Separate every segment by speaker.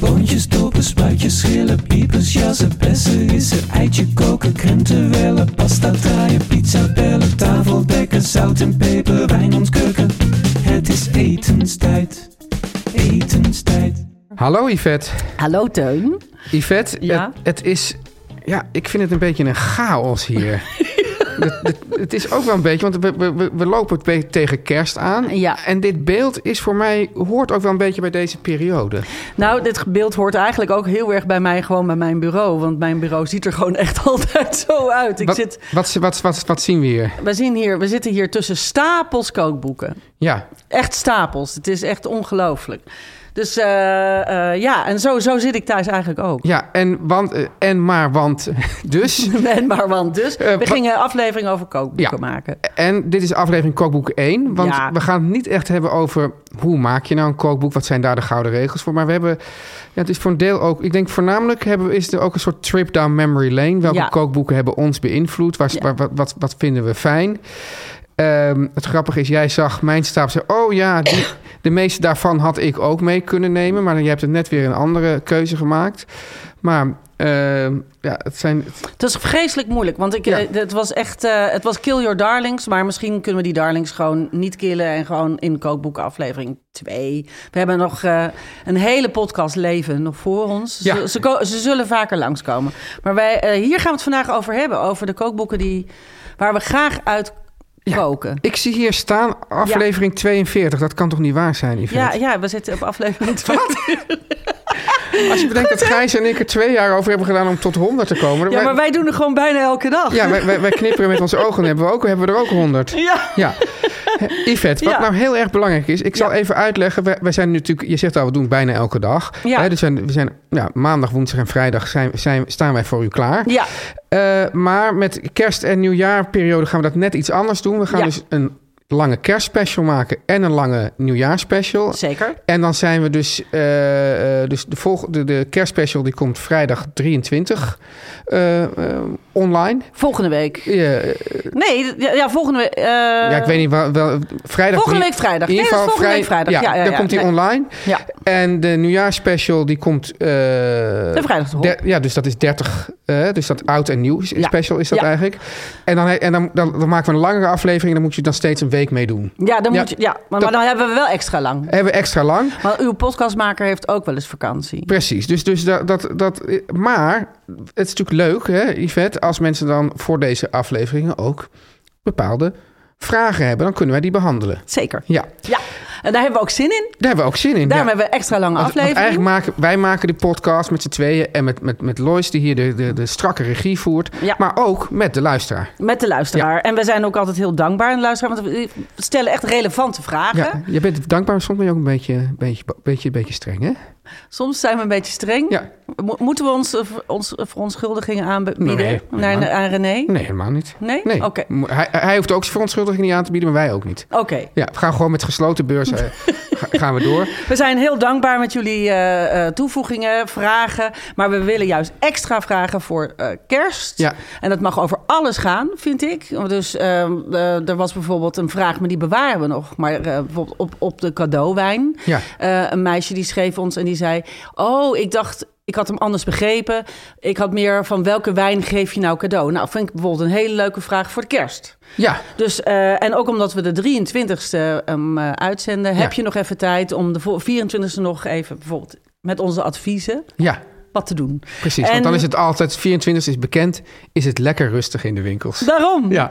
Speaker 1: Boontjes, dopen, spruitjes, schillen, piepers, jassen, bessen, rissen, eitje koken, krenten wellen, pasta draaien, pizza bellen, tafel dekken, zout en peper, wijn ontkurken. Het is etenstijd, etenstijd.
Speaker 2: Hallo Yvette.
Speaker 3: Hallo Teun.
Speaker 2: Yvette,
Speaker 3: Ja?
Speaker 2: het, het is... Ja, ik vind het een beetje een chaos hier. het, het- het is ook wel een beetje, want we, we- we, we lopen het be- tegen kerst aan.
Speaker 3: Ja.
Speaker 2: En dit beeld is voor mij, hoort ook wel een beetje bij deze periode.
Speaker 3: Nou, dit beeld hoort eigenlijk ook heel erg bij mij, gewoon bij mijn bureau. Want mijn bureau ziet er gewoon echt altijd zo uit. Ik
Speaker 2: wat,
Speaker 3: zit,
Speaker 2: wat, wat, wat, wat zien we hier?
Speaker 3: we, zien hier, we zitten hier tussen stapels kookboeken.
Speaker 2: Ja,
Speaker 3: Echt stapels. Het is echt ongelooflijk. Dus eh, eh, ja, en zo, zo zit ik thuis eigenlijk ook.
Speaker 2: ja en, want, eh, en maar want dus.
Speaker 3: En maar want dus,
Speaker 2: Eh,
Speaker 3: we
Speaker 2: wa-
Speaker 3: gingen aflevering over kookboeken
Speaker 2: Ja.
Speaker 3: maken.
Speaker 2: En dit is aflevering kookboek 1. Want
Speaker 3: Ja.
Speaker 2: we gaan het niet echt hebben over hoe maak je nou een kookboek? Wat zijn daar de gouden regels voor? Maar we hebben, ja, het is voor een deel ook, ik denk voornamelijk hebben, we- is er ook een soort trip down memory lane. Welke
Speaker 3: Ja.
Speaker 2: kookboeken hebben ons beïnvloed? Waar,
Speaker 3: Ja.
Speaker 2: waar- wat, wat, wat vinden we fijn? Ehm, het grappige is, jij zag mijn stapel zei, oh ja, die- de meeste daarvan had ik ook mee kunnen nemen. Maar je hebt het net weer een andere keuze gemaakt. Maar ehm, ja, het zijn,
Speaker 3: Het was vreselijk moeilijk, want ik,
Speaker 2: Ja.
Speaker 3: eh, het was echt... eh, het was Kill Your Darlings, maar misschien kunnen we die darlings gewoon niet killen... en gewoon in kookboek aflevering 2. We hebben nog eh, een hele podcast leven nog voor ons.
Speaker 2: Ja.
Speaker 3: Ze, ze, ko- ze zullen vaker langskomen. Maar wij, eh, hier gaan we het vandaag over hebben, over de kookboeken die, waar we graag uit
Speaker 2: Ja.
Speaker 3: koken.
Speaker 2: ik zie hier staan aflevering 42. Dat kan toch niet waar zijn, Yvette?
Speaker 3: Ja, ja, we zitten op aflevering 2.
Speaker 2: Als je bedenkt dat Gijs en Dus ik er twee jaar over hebben gedaan om tot 100 te komen.
Speaker 3: Ja, maar wij doen het gewoon bijna elke dag.
Speaker 2: ja, wij, wij- wij knipperen met onze ogen. Hebben we, ook, hebben we er ook 100?
Speaker 3: Ja.
Speaker 2: Ja. Eh, Yvette, wat
Speaker 3: Ja.
Speaker 2: nou heel erg belangrijk is. Ik zal
Speaker 3: Ja.
Speaker 2: even uitleggen. Wij, wij zijn natuurlijk, je zegt al, we doen het bijna elke dag.
Speaker 3: Ja.
Speaker 2: Hè, dus zijn, we zijn ja, maandag, woensdag en vrijdag zijn, zijn, staan wij voor u klaar.
Speaker 3: Ja,
Speaker 2: Eh, maar met kerst- en nieuwjaarperiode gaan we dat net iets anders doen. We gaan
Speaker 3: Ja.
Speaker 2: dus een lange kerstspecial maken en een lange nieuwjaarspecial.
Speaker 3: zeker.
Speaker 2: En dan zijn we dus, eh, eh, dus de, volg- de, de kerstspecial die komt vrijdag 23 eh, eh, online.
Speaker 3: Volgende week.
Speaker 2: Ja, eh,
Speaker 3: Nee, ja, ja, volgende week. eh,
Speaker 2: ja, ik weet niet wel, wel vrijdag.
Speaker 3: Volgende
Speaker 2: drie-
Speaker 3: week vrijdag.
Speaker 2: in ieder
Speaker 3: Nee, dat is
Speaker 2: geval
Speaker 3: volgende
Speaker 2: vrij-
Speaker 3: week vrijdag. Ja, ja,
Speaker 2: dan
Speaker 3: ja.
Speaker 2: komt die
Speaker 3: Nee.
Speaker 2: online.
Speaker 3: Ja.
Speaker 2: En de nieuwjaarspecial die komt. eh,
Speaker 3: De vrijdag erop.
Speaker 2: der- ja, dus dat is 30. eh, dus dat oud en nieuw is-
Speaker 3: Ja.
Speaker 2: special is dat
Speaker 3: Ja.
Speaker 2: eigenlijk. En, dan, en dan, dan, dan maken we een langere aflevering. En dan moet je dan steeds een week mee doen.
Speaker 3: Ja, dan
Speaker 2: Ja. Eh.
Speaker 3: Moet je, ja maar, maar dan hebben we wel extra lang.
Speaker 2: Hebben we extra lang.
Speaker 3: Want uw podcastmaker heeft ook wel eens vakantie.
Speaker 2: Precies, dus, dus dat, dat, dat. Maar het is natuurlijk leuk, hè, Yvette, als mensen dan voor deze afleveringen ook bepaalde vragen hebben. Dan kunnen wij die behandelen.
Speaker 3: Zeker.
Speaker 2: Ja,
Speaker 3: Ja, en daar hebben we ook zin in.
Speaker 2: daar hebben we ook zin in.
Speaker 3: Daarom
Speaker 2: ja.
Speaker 3: hebben we extra lange
Speaker 2: Want- want
Speaker 3: afleveringen.
Speaker 2: eigenlijk maken wij maken die podcast met z'n tweeën en met, met, met Lois, die hier de, de, de strakke regie voert.
Speaker 3: Ja.
Speaker 2: Maar ook met de luisteraar.
Speaker 3: Met de luisteraar. En we zijn ook altijd heel dankbaar aan de luisteraar. Want we stellen echt relevante vragen.
Speaker 2: Ja, je bent dankbaar, maar soms ben je ook een beetje, een beetje, een beetje, een beetje streng, hè?
Speaker 3: Soms zijn we een beetje streng.
Speaker 2: Ja.
Speaker 3: Mo- moeten we ons, eh, ver- ons eh, verontschuldigingen aanbieden
Speaker 2: Nee,
Speaker 3: naar,
Speaker 2: nee.
Speaker 3: aan René?
Speaker 2: Nee, helemaal niet.
Speaker 3: Nee?
Speaker 2: nee.
Speaker 3: Oké.
Speaker 2: Mo- Hij, hij hoeft ook zijn verontschuldiging niet aan te bieden, maar wij ook niet.
Speaker 3: Oké.
Speaker 2: Ja, we gaan gewoon met gesloten beurs eh, ga- gaan we door.
Speaker 3: We zijn heel dankbaar met jullie eh, eh, toevoegingen, vragen. Maar we willen juist extra vragen voor eh, kerst.
Speaker 2: Ja.
Speaker 3: En dat mag over alles gaan, vind ik. Dus ehm, eh, er was bijvoorbeeld een vraag, maar die bewaren we nog. Maar eh, bijvoorbeeld op, op de cadeauwijn.
Speaker 2: Ja.
Speaker 3: Eh, een meisje die schreef ons en die zei... Oh, ik dacht... Ik had hem anders begrepen. Ik had meer van welke wijn geef je nou cadeau? Nou, vind ik bijvoorbeeld een hele leuke vraag voor de kerst.
Speaker 2: Ja,
Speaker 3: Dus, eh, en ook omdat we de 23ste hem eh, uitzenden, heb
Speaker 2: Ja.
Speaker 3: je nog even tijd om de vo- 24ste nog even bijvoorbeeld met onze adviezen
Speaker 2: ja,
Speaker 3: wat te doen.
Speaker 2: precies.
Speaker 3: En-
Speaker 2: Want dan is het altijd, 24 is bekend, is het lekker rustig in de winkels.
Speaker 3: Daarom.
Speaker 2: Ja,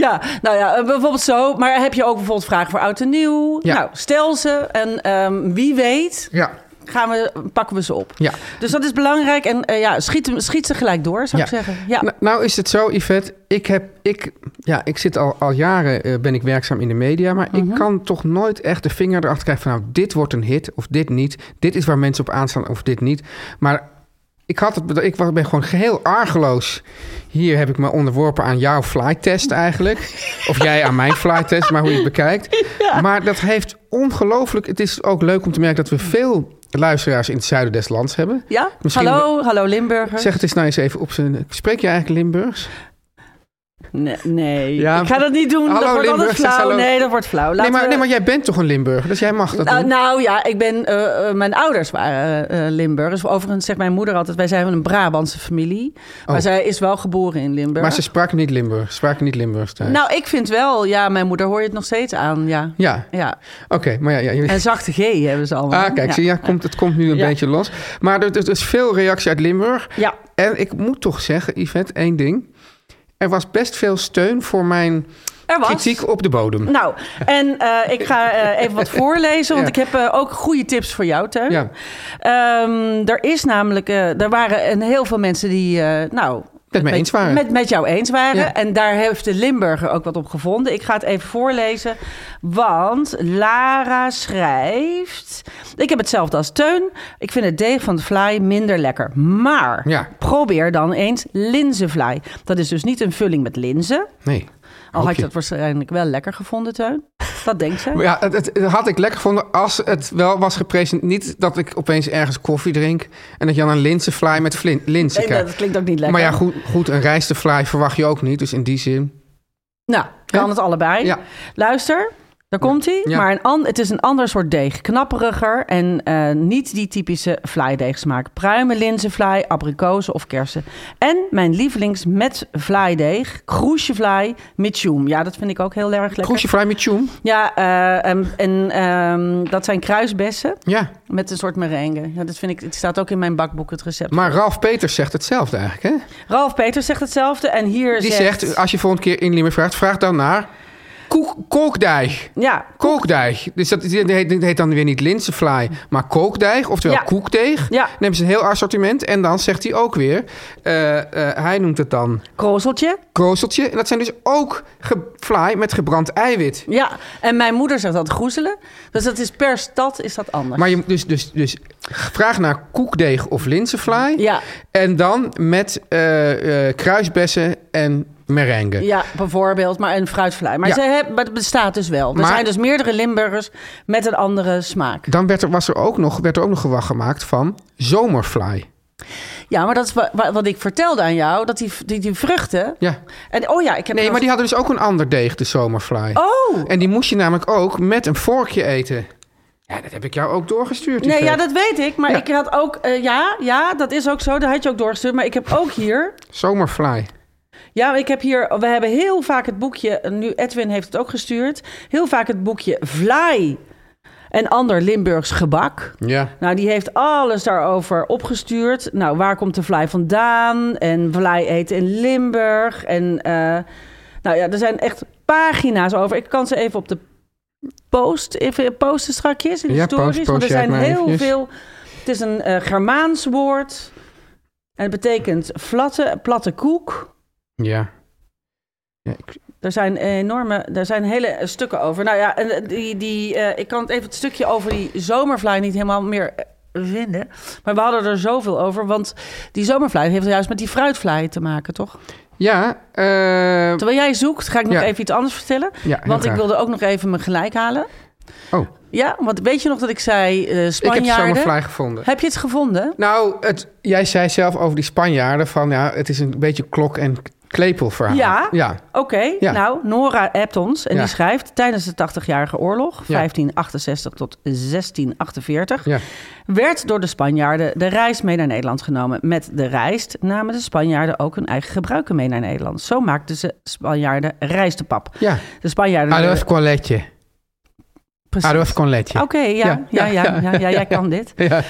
Speaker 3: Ja, nou ja, eh, bijvoorbeeld zo. Maar heb je ook bijvoorbeeld vragen voor oud en nieuw?
Speaker 2: Ja.
Speaker 3: Nou, stel ze en ehm, wie weet
Speaker 2: ja,
Speaker 3: gaan we, pakken we ze op.
Speaker 2: ja.
Speaker 3: Dus dat is belangrijk en eh, ja, schiet, hem- schiet ze gelijk door, zou
Speaker 2: Ja.
Speaker 3: ik zeggen. Ja.
Speaker 2: Nou, nou is het zo, Yvette. Ik, heb, ik, ja, ik zit al, al jaren eh, ben ik werkzaam in de media. Maar ik kan toch nooit echt de vinger erachter krijgen van... nou, dit wordt een hit of dit niet. Dit is waar mensen op aanstaan of dit niet. Maar ik, had het, beda- ik was- ben gewoon geheel argeloos. Hier heb ik me onderworpen aan jouw flytest eigenlijk. Of jij aan mijn flytest, maar hoe je het bekijkt. Maar dat heeft ongelooflijk... Het is ook leuk om te merken dat we veel luisteraars in het zuiden des lands hebben.
Speaker 3: Ja?
Speaker 2: Misschien-
Speaker 3: hallo, hallo Limburger.
Speaker 2: Zeg het eens nou eens even op zijn... Spreek je eigenlijk Limburgs?
Speaker 3: Nee, nee.
Speaker 2: Ja.
Speaker 3: ik ga dat niet doen.
Speaker 2: Hallo,
Speaker 3: dat wordt
Speaker 2: Limburg,
Speaker 3: altijd
Speaker 2: zegt
Speaker 3: flauw.
Speaker 2: hallo.
Speaker 3: Nee, dat wordt flauw.
Speaker 2: Nee
Speaker 3: Laten
Speaker 2: maar,
Speaker 3: we-
Speaker 2: nee, maar jij bent toch een Limburger? Dus jij mag dat
Speaker 3: Nou,
Speaker 2: doen?
Speaker 3: nou ja, ik ben, eh, eh, mijn ouders waren eh eh, Limburgers. Overigens zegt mijn moeder altijd, wij zijn een Brabantse familie.
Speaker 2: Oh.
Speaker 3: Maar zij is wel geboren in Limburg.
Speaker 2: maar ze sprak niet Limburg. Spraken niet Limburgs thuis.
Speaker 3: Nou, ik vind wel, ja, mijn moeder hoor je het nog steeds aan, ja.
Speaker 2: Ja,
Speaker 3: ja.
Speaker 2: oké. maar ja, ja, jullie-
Speaker 3: En zachte G hebben ze allemaal.
Speaker 2: Ah, kijk,
Speaker 3: ja.
Speaker 2: zie je, ja, komt, het komt nu een
Speaker 3: Ja.
Speaker 2: beetje los. Maar er, er is veel reactie uit Limburg.
Speaker 3: Ja,
Speaker 2: En ik moet toch zeggen, Yvette, één ding. Er was best veel steun voor mijn
Speaker 3: er was.
Speaker 2: kritiek op de bodem.
Speaker 3: Nou, en eh, ik ga eh, even wat voorlezen, want
Speaker 2: Ja.
Speaker 3: ik heb eh, ook goede tips voor jou, Teun.
Speaker 2: Ja,
Speaker 3: Ehm, er is namelijk, eh, er waren een heel veel mensen die, eh, nou...
Speaker 2: met me eens waren.
Speaker 3: Met, met jou eens waren.
Speaker 2: Ja.
Speaker 3: En daar heeft de Limburger ook wat op gevonden. Ik ga het even voorlezen. Want Lara schrijft... Ik heb hetzelfde als Teun. Ik vind het deeg van de fly minder lekker. Maar
Speaker 2: Ja.
Speaker 3: probeer dan eens linzenvlaai. Dat is dus niet een vulling met linzen.
Speaker 2: Nee.
Speaker 3: Al
Speaker 2: Hoop
Speaker 3: had
Speaker 2: je.
Speaker 3: je dat waarschijnlijk wel lekker gevonden, Teun. Dat denkt ze.
Speaker 2: Maar Ja, het, het- het had ik lekker gevonden als het wel was gepresenteerd. Niet dat ik opeens ergens koffie drink en dat je dan een linzenfly met flin, linzen
Speaker 3: Nee,
Speaker 2: krijgt.
Speaker 3: dat klinkt ook niet lekker.
Speaker 2: Maar ja, goed, goed een rijstenfly verwacht je ook niet. Dus in die zin.
Speaker 3: Nou,
Speaker 2: Hè?
Speaker 3: kan het allebei.
Speaker 2: Ja.
Speaker 3: Luister, daar komt hij.
Speaker 2: Ja.
Speaker 3: Maar een an- het is een ander soort deeg. Knapperiger en eh, niet die typische vlaaideegsmaak. Pruimen, linzenvlaai, abrikozen of kersen. En mijn lievelings met vlaaideeg, kroesjevlaai met tjoem. Ja, dat vind ik ook heel erg lekker.
Speaker 2: Kroesje fly met tjoem.
Speaker 3: Ja, eh, en, en ehm, dat zijn kruisbessen
Speaker 2: Ja.
Speaker 3: met een soort merengue. Ja, dat vind ik, het staat ook in mijn bakboek, het recept.
Speaker 2: Maar Ralf Peters zegt hetzelfde eigenlijk. Hè?
Speaker 3: Ralf Peters zegt hetzelfde en hier
Speaker 2: Die zegt, als je volgende keer in Limburg vraagt, vraag dan naar koek, kookdij.
Speaker 3: Ja,
Speaker 2: Kookdij. Dus dat, die heet, die heet dan weer niet linzenfly, maar kookdij. Oftewel
Speaker 3: Ja.
Speaker 2: koekdeeg.
Speaker 3: Ja.
Speaker 2: Neemt ze een heel assortiment. En dan zegt hij ook weer, eh, eh, hij noemt het dan
Speaker 3: krozeltje.
Speaker 2: krooseltje. En dat zijn dus ook ge- fly met gebrand eiwit.
Speaker 3: Ja, en mijn moeder zegt dat groezelen. Dus dat is per stad is dat anders.
Speaker 2: Maar je, dus, dus, dus vraag naar koekdeeg of linzenfly.
Speaker 3: Ja,
Speaker 2: En dan met eh, eh, kruisbessen en merengue.
Speaker 3: ja, bijvoorbeeld, maar een fruitvlaai. Maar,
Speaker 2: Ja.
Speaker 3: ze hebben, maar het bestaat dus wel. Er
Speaker 2: Maar-
Speaker 3: zijn dus meerdere Limburgers met een andere smaak.
Speaker 2: Dan werd er, was er ook nog, werd er ook nog gewacht gemaakt van zomerfly.
Speaker 3: Ja, maar dat is wa- wa- wat ik vertelde aan jou, dat die, die, die vruchten...
Speaker 2: Ja.
Speaker 3: En, oh ja, ik heb...
Speaker 2: Nee,
Speaker 3: nog-
Speaker 2: maar die hadden dus ook een ander deeg, de zomerfly.
Speaker 3: Oh!
Speaker 2: En die moest je namelijk ook met een vorkje eten. Ja, dat heb ik jou ook doorgestuurd.
Speaker 3: Nee,
Speaker 2: Yvette.
Speaker 3: ja, dat weet ik. Maar
Speaker 2: Ja.
Speaker 3: ik had ook... eh, ja, ja, dat is ook zo. Dat had je ook doorgestuurd. Maar ik heb ook hier...
Speaker 2: Zomerfly.
Speaker 3: Ja, maar ik heb hier, we hebben heel vaak het boekje, nu Edwin heeft het ook gestuurd, heel vaak het boekje Vlaai en ander Limburgs gebak.
Speaker 2: Ja.
Speaker 3: Nou, die heeft alles daarover opgestuurd. Nou, waar komt de vlaai vandaan? En vlaai eten in Limburg. En eh, nou ja, er zijn echt pagina's over. Ik kan ze even op de post even posten strakjes in de
Speaker 2: Ja, post-
Speaker 3: stories. want er
Speaker 2: post jij
Speaker 3: zijn
Speaker 2: het maar
Speaker 3: heel
Speaker 2: eventjes.
Speaker 3: veel. Het is een eh Germaans woord. En het betekent vlatte, platte koek.
Speaker 2: Ja. Ja, ik-
Speaker 3: Er zijn enorme, er zijn hele eh, stukken over. Nou ja, en, eh, die, die, eh, ik kan het even het stukje over die zomervlaai niet helemaal meer eh, vinden. Maar we hadden er zoveel over, want die zomervlaai heeft juist met die fruitvlaai te maken, toch?
Speaker 2: ja, eh,
Speaker 3: Terwijl jij zoekt, ga ik nog
Speaker 2: Ja.
Speaker 3: even iets anders vertellen.
Speaker 2: ja, heel
Speaker 3: Want ik
Speaker 2: graag.
Speaker 3: wilde ook nog even mijn gelijk halen.
Speaker 2: Oh.
Speaker 3: Ja, want weet je nog dat ik zei eh
Speaker 2: Ik heb
Speaker 3: Spanjaarden?
Speaker 2: zomerfly gevonden.
Speaker 3: Heb je het gevonden?
Speaker 2: Nou, het, jij zei zelf over die Spanjaarden van ja, het is een beetje klok en Klepelverhaal.
Speaker 3: Ja?
Speaker 2: Ja.
Speaker 3: Oké,
Speaker 2: Ja.
Speaker 3: nou, Nora hebt ons en
Speaker 2: Ja.
Speaker 3: die schrijft... tijdens de 80-jarige oorlog,
Speaker 2: Ja.
Speaker 3: 1568 tot 1648...
Speaker 2: Ja.
Speaker 3: werd door de Spanjaarden de rijst mee naar Nederland genomen. Met de rijst namen de Spanjaarden ook hun eigen gebruiken mee naar Nederland. Zo maakten ze Spanjaarden rijstepap.
Speaker 2: ja.
Speaker 3: De Spanjaarden...
Speaker 2: Adolf Coletje.
Speaker 3: Precies.
Speaker 2: Adolf Coletje.
Speaker 3: Oké, ja,
Speaker 2: Ja,
Speaker 3: ja, ja, ja, ja, jij kan dit.
Speaker 2: Ja.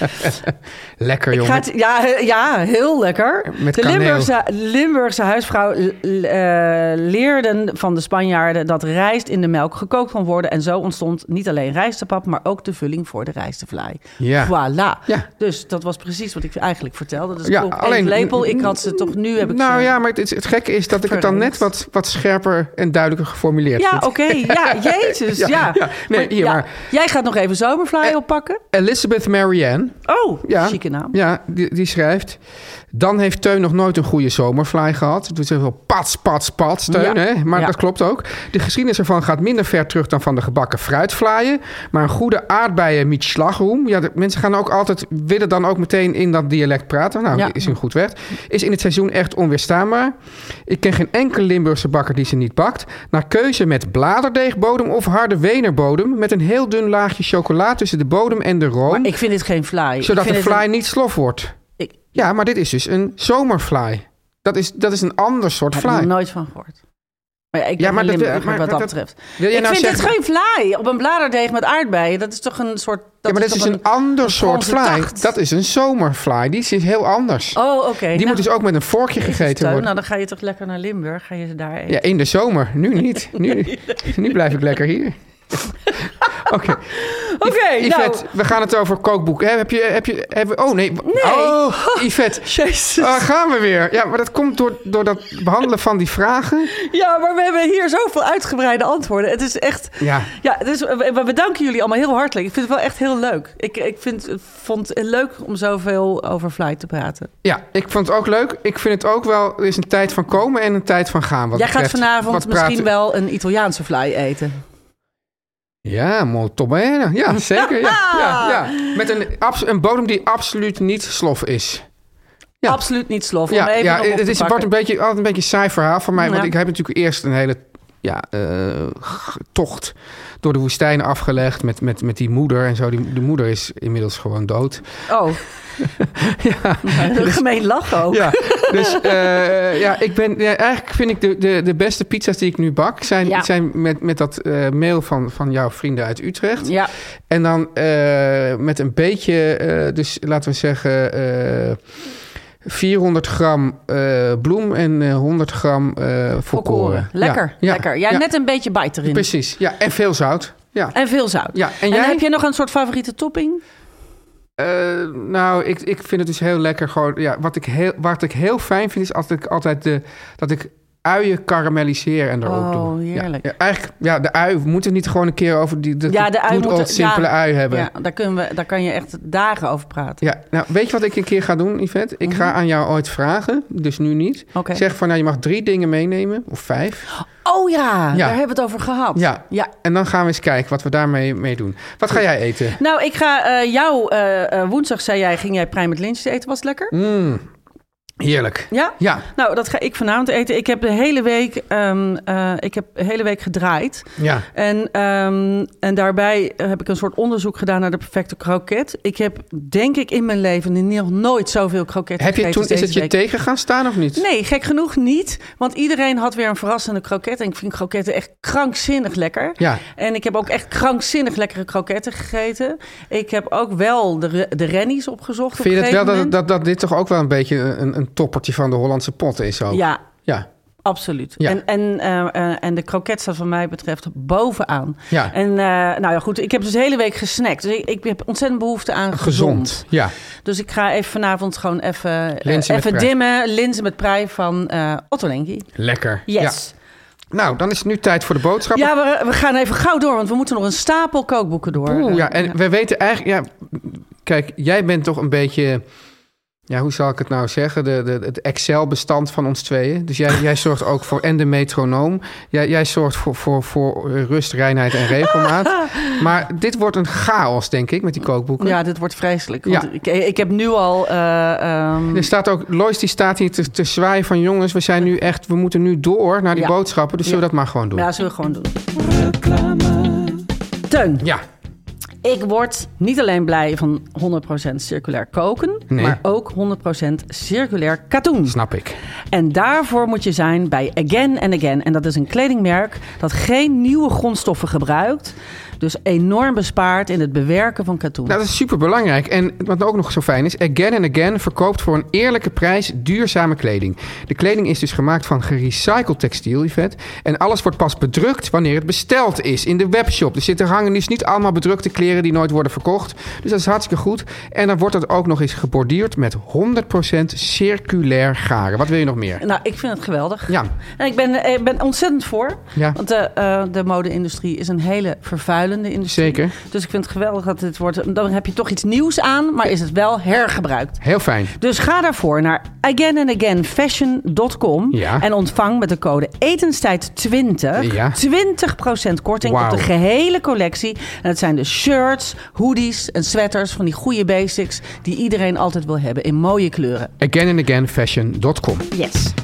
Speaker 2: Lekker,
Speaker 3: Ik
Speaker 2: jongen.
Speaker 3: ga het, ja, he- ja, heel lekker.
Speaker 2: Met
Speaker 3: de
Speaker 2: kaneel.
Speaker 3: Limburgse, Limburgse huisvrouw l- l- eh, leerden van de Spanjaarden dat rijst in de melk gekookt kon worden. En zo ontstond niet alleen rijstepap, maar ook de vulling voor de rijstevlaai.
Speaker 2: Ja.
Speaker 3: Voilà.
Speaker 2: Ja.
Speaker 3: Dus dat was precies wat ik eigenlijk vertelde. Dus
Speaker 2: Ja,
Speaker 3: ja, alleen
Speaker 2: alleen-
Speaker 3: lepel, ik had ze toch nu, heb ik
Speaker 2: nou
Speaker 3: ze-
Speaker 2: ja, maar het, het gekke is dat ik het dan net
Speaker 3: Verrekt.
Speaker 2: wat, wat scherper en duidelijker geformuleerd
Speaker 3: Ja,
Speaker 2: vind.
Speaker 3: oké. Ja, jezus.
Speaker 2: Ja,
Speaker 3: Ja.
Speaker 2: ja. Nee, hier
Speaker 3: ja,
Speaker 2: maar.
Speaker 3: Jij gaat nog even zomervlaai oppakken.
Speaker 2: Elizabeth Marianne,
Speaker 3: Oh,
Speaker 2: ja,
Speaker 3: chique naam.
Speaker 2: ja die, die schrijft... Dan heeft Teun nog nooit een goede zomerfly gehad. Het doet ze wel pats, pats, pats, Teun.
Speaker 3: Ja.
Speaker 2: Hè? Maar
Speaker 3: Ja.
Speaker 2: dat klopt ook. De geschiedenis ervan gaat minder ver terug dan van de gebakken fruitflyen. Maar een goede aardbeien met slagroom... Ja, de, mensen gaan ook altijd, willen dan ook meteen in dat dialect praten. Nou,
Speaker 3: Ja.
Speaker 2: is een goed weg. Is in het seizoen echt onweerstaanbaar. Ik ken geen enkele Limburgse bakker die ze niet bakt. Naar keuze met bladerdeegbodem of harde wenerbodem... met een heel dun laagje chocola tussen de bodem en de room.
Speaker 3: Maar ik vind dit geen fly.
Speaker 2: Zodat de fly
Speaker 3: fly
Speaker 2: niet slof wordt.
Speaker 3: Ik-
Speaker 2: Ja, maar dit is dus een zomerfly. Dat is, dat is een ander soort
Speaker 3: Ik heb er
Speaker 2: fly.
Speaker 3: nooit van gehoord. Maar ja, ik
Speaker 2: Ja, maar
Speaker 3: ben maar
Speaker 2: dat-
Speaker 3: Limburger
Speaker 2: maar-
Speaker 3: wat
Speaker 2: maar
Speaker 3: dat,
Speaker 2: dat-
Speaker 3: betreft.
Speaker 2: Wil jij
Speaker 3: ik
Speaker 2: nou
Speaker 3: vind dit
Speaker 2: zeggen-
Speaker 3: geen vlaai op een bladerdeeg met aardbeien. Dat is toch een soort...
Speaker 2: Ja,
Speaker 3: Dat
Speaker 2: maar dat is
Speaker 3: toch
Speaker 2: een ander soort
Speaker 3: Franse
Speaker 2: fly.
Speaker 3: tacht.
Speaker 2: Dat is een zomerfly. Die zit heel anders.
Speaker 3: Oh, oké.
Speaker 2: Die moet dus ook met een vorkje gegeten worden.
Speaker 3: Nou, dan ga je toch lekker naar Limburg. Ga je ze daar eten.
Speaker 2: Ja, in de zomer. Nu niet. Nu, nu blijf ik lekker hier. Oké,
Speaker 3: Oké, nou...
Speaker 2: Yvette, we gaan het over kookboek. Hè, Heb je, heb je, hebben we- oh nee. Oh, Yvette.
Speaker 3: Jezus.
Speaker 2: Daar gaan we weer. Ja, maar dat komt door, door dat behandelen van die vragen.
Speaker 3: Ja, maar we hebben hier zoveel uitgebreide antwoorden. Het is echt...
Speaker 2: Ja.
Speaker 3: Ja, dus we we bedanken jullie allemaal heel hartelijk. Ik vind het wel echt heel leuk. Ik, ik vind, vond het leuk om zoveel over fly te praten.
Speaker 2: Ja, ik vond het ook leuk. Ik vind het ook wel, er is een tijd van komen en een tijd van gaan. Wat
Speaker 3: Jij gaat
Speaker 2: betreft
Speaker 3: vanavond
Speaker 2: wat
Speaker 3: misschien
Speaker 2: praten-
Speaker 3: wel een Italiaanse fly eten.
Speaker 2: Ja, molto bene. Ja, zeker. Ja, ja, ja. Met een, abs- een bodem die absoluut niet slof is. Ja.
Speaker 3: Absoluut niet slof. om
Speaker 2: ja,
Speaker 3: even
Speaker 2: ja
Speaker 3: nog op
Speaker 2: het
Speaker 3: te
Speaker 2: is,
Speaker 3: pakken.
Speaker 2: wordt een beetje, altijd een beetje een saai verhaal van mij. Want
Speaker 3: Ja.
Speaker 2: ik heb natuurlijk eerst een hele ja, eh, g- tocht door de woestijn afgelegd met, met, met die moeder en zo. Die, de moeder is inmiddels gewoon dood.
Speaker 3: Oh. ja. Gemeen lachen ook.
Speaker 2: Ja, dus eh, ja, ik ben, ja, eigenlijk vind ik de, de, de beste pizza's die ik nu bak... zijn,
Speaker 3: Ja.
Speaker 2: zijn met, met dat eh, mail van, van jouw vrienden uit Utrecht.
Speaker 3: Ja.
Speaker 2: En dan eh, met een beetje, eh, dus laten we zeggen... eh, 400 gram eh, bloem en eh, 100 gram eh volkoren.
Speaker 3: Lekker,
Speaker 2: Ja, ja,
Speaker 3: lekker. Ja,
Speaker 2: ja,
Speaker 3: net een beetje bijt erin.
Speaker 2: Precies, ja. En veel zout. Ja.
Speaker 3: En veel zout.
Speaker 2: Ja, en
Speaker 3: En,
Speaker 2: jij?
Speaker 3: heb je nog een soort favoriete topping?
Speaker 2: Eh, nou, ik, ik vind het dus heel lekker. Gewoon, ja, wat, ik heel, wat ik heel fijn vind, is altijd, altijd de, dat ik uien karamelliseer en er ook
Speaker 3: Oh,
Speaker 2: doe. Ja,
Speaker 3: heerlijk.
Speaker 2: Ja, eigenlijk, ja, de ui. We moeten niet gewoon een keer over die, de,
Speaker 3: Ja, de ui
Speaker 2: good
Speaker 3: moet-
Speaker 2: old simpele
Speaker 3: ja.
Speaker 2: ui hebben.
Speaker 3: Ja,
Speaker 2: Ja.
Speaker 3: daar, kunnen we, daar kan je echt dagen over praten.
Speaker 2: nou, weet je wat ik een keer ga doen, Yvette? Ik ga aan jou ooit vragen, dus nu niet.
Speaker 3: Mhm. Oké.
Speaker 2: Zeg van, nou, je mag drie dingen meenemen, of vijf.
Speaker 3: Oh ja,
Speaker 2: Ja.
Speaker 3: daar hebben we het over gehad.
Speaker 2: Ja. En dan gaan we eens kijken wat we daarmee mee doen. Wat ga jij eten?
Speaker 3: Nou, ik ga eh, jou... eh, eh, woensdag zei jij, ging jij prij met lintjes eten. Was het lekker?
Speaker 2: Heerlijk.
Speaker 3: Ja?
Speaker 2: Mm. Ja.
Speaker 3: Nou, dat ga ik vanavond eten. Ik heb de hele week, ehm, eh, ik heb de hele week gedraaid.
Speaker 2: Ja.
Speaker 3: En, ehm, en daarbij heb ik een soort onderzoek gedaan naar de perfecte kroket. Ik heb, denk ik, in mijn leven nog nooit zoveel kroketten
Speaker 2: Heb je
Speaker 3: gegeten
Speaker 2: toen,
Speaker 3: als
Speaker 2: is het
Speaker 3: dus deze
Speaker 2: je
Speaker 3: week.
Speaker 2: tegen gaan staan of niet?
Speaker 3: Nee, gek genoeg niet. Want iedereen had weer een verrassende kroket. En ik vind kroketten echt krankzinnig lekker.
Speaker 2: Ja.
Speaker 3: En ik heb ook echt krankzinnig lekkere kroketten gegeten. Ik heb ook wel de, re- de rennies opgezocht. op
Speaker 2: Vind je
Speaker 3: een
Speaker 2: het wel
Speaker 3: gegeven
Speaker 2: dat,
Speaker 3: moment.
Speaker 2: dat, dat dit toch ook wel een beetje een, een toppertje van de Hollandse pot is ook?
Speaker 3: Ja,
Speaker 2: Ja.
Speaker 3: Absoluut.
Speaker 2: Ja.
Speaker 3: En, en, eh, eh, en de kroket staat van mij betreft bovenaan.
Speaker 2: Ja.
Speaker 3: En eh, nou ja, goed, ik heb dus de hele week gesnackt. Dus ik, ik heb ontzettend behoefte aan gezond.
Speaker 2: Gezond. Ja.
Speaker 3: Dus ik ga even vanavond gewoon even, eh,
Speaker 2: Linzen met
Speaker 3: even
Speaker 2: prei.
Speaker 3: dimmen. Linzen met prei van eh Otto Lengi.
Speaker 2: Lekker.
Speaker 3: Yes.
Speaker 2: Ja. Nou, dan is het nu tijd voor de boodschappen.
Speaker 3: Ja, we, we gaan even gauw door, want we moeten nog een stapel kookboeken door.
Speaker 2: Oeh,
Speaker 3: Eh,
Speaker 2: ja. En we weten eigenlijk... Ja, kijk, jij bent toch een beetje... Ja, hoe zal ik het nou zeggen? De, de, het Excel-bestand van ons tweeën. Dus jij, jij zorgt ook voor en de metronoom. Jij, jij zorgt voor, voor, voor rust, reinheid en regelmaat. Maar dit wordt een chaos, denk ik, met die kookboeken.
Speaker 3: Ja, dit wordt vreselijk. Want
Speaker 2: Ja. Dus-
Speaker 3: ik, ik heb nu al... eh, ehm,
Speaker 2: Er staat ook, Lois die staat hier te, te zwaaien van jongens, we zijn nu echt, we moeten nu door naar die
Speaker 3: Ja.
Speaker 2: boodschappen, dus zullen we dat maar gewoon doen.
Speaker 3: ja,
Speaker 2: Ja.
Speaker 3: zullen we gewoon doen. Teun, ik word niet alleen blij van 100% circulair koken...
Speaker 2: Nee.
Speaker 3: maar ook 100% circulair katoen.
Speaker 2: snap ik.
Speaker 3: En daarvoor moet je zijn bij Again and Again. En dat is een kledingmerk dat geen nieuwe grondstoffen gebruikt. Dus enorm bespaart in het bewerken van katoen.
Speaker 2: Nou, dat is super belangrijk. En wat ook nog zo fijn is, Again and Again verkoopt voor een eerlijke prijs duurzame kleding. De kleding is dus gemaakt van gerecycled textiel, Yvette. En alles wordt pas bedrukt wanneer het besteld is in de webshop. Er zitten hangen dus niet allemaal bedrukte kleren die nooit worden verkocht. Dus dat is hartstikke goed. En dan wordt dat ook nog eens geborduurd met 100% circulair garen. Wat wil je nog meer?
Speaker 3: Nou, ik vind het geweldig.
Speaker 2: Ja,
Speaker 3: En ik ben, eh, ben ontzettend voor.
Speaker 2: Ja.
Speaker 3: Want de, eh, de mode-industrie is een hele vervuilende industrie.
Speaker 2: zeker.
Speaker 3: Dus ik vind het geweldig dat dit wordt. Dan heb je toch iets nieuws aan, maar is het wel hergebruikt.
Speaker 2: Heel fijn.
Speaker 3: Dus ga daarvoor naar againandagainfashion.com
Speaker 2: Ja.
Speaker 3: en ontvang met de code etenstijd20
Speaker 2: Ja.
Speaker 3: 20% korting
Speaker 2: Wauw.
Speaker 3: op de gehele collectie. En dat zijn dus shirts, hoodies en sweaters van die goede basics die iedereen altijd wil hebben in mooie kleuren.
Speaker 2: Againandagainfashion.com.
Speaker 3: Yes.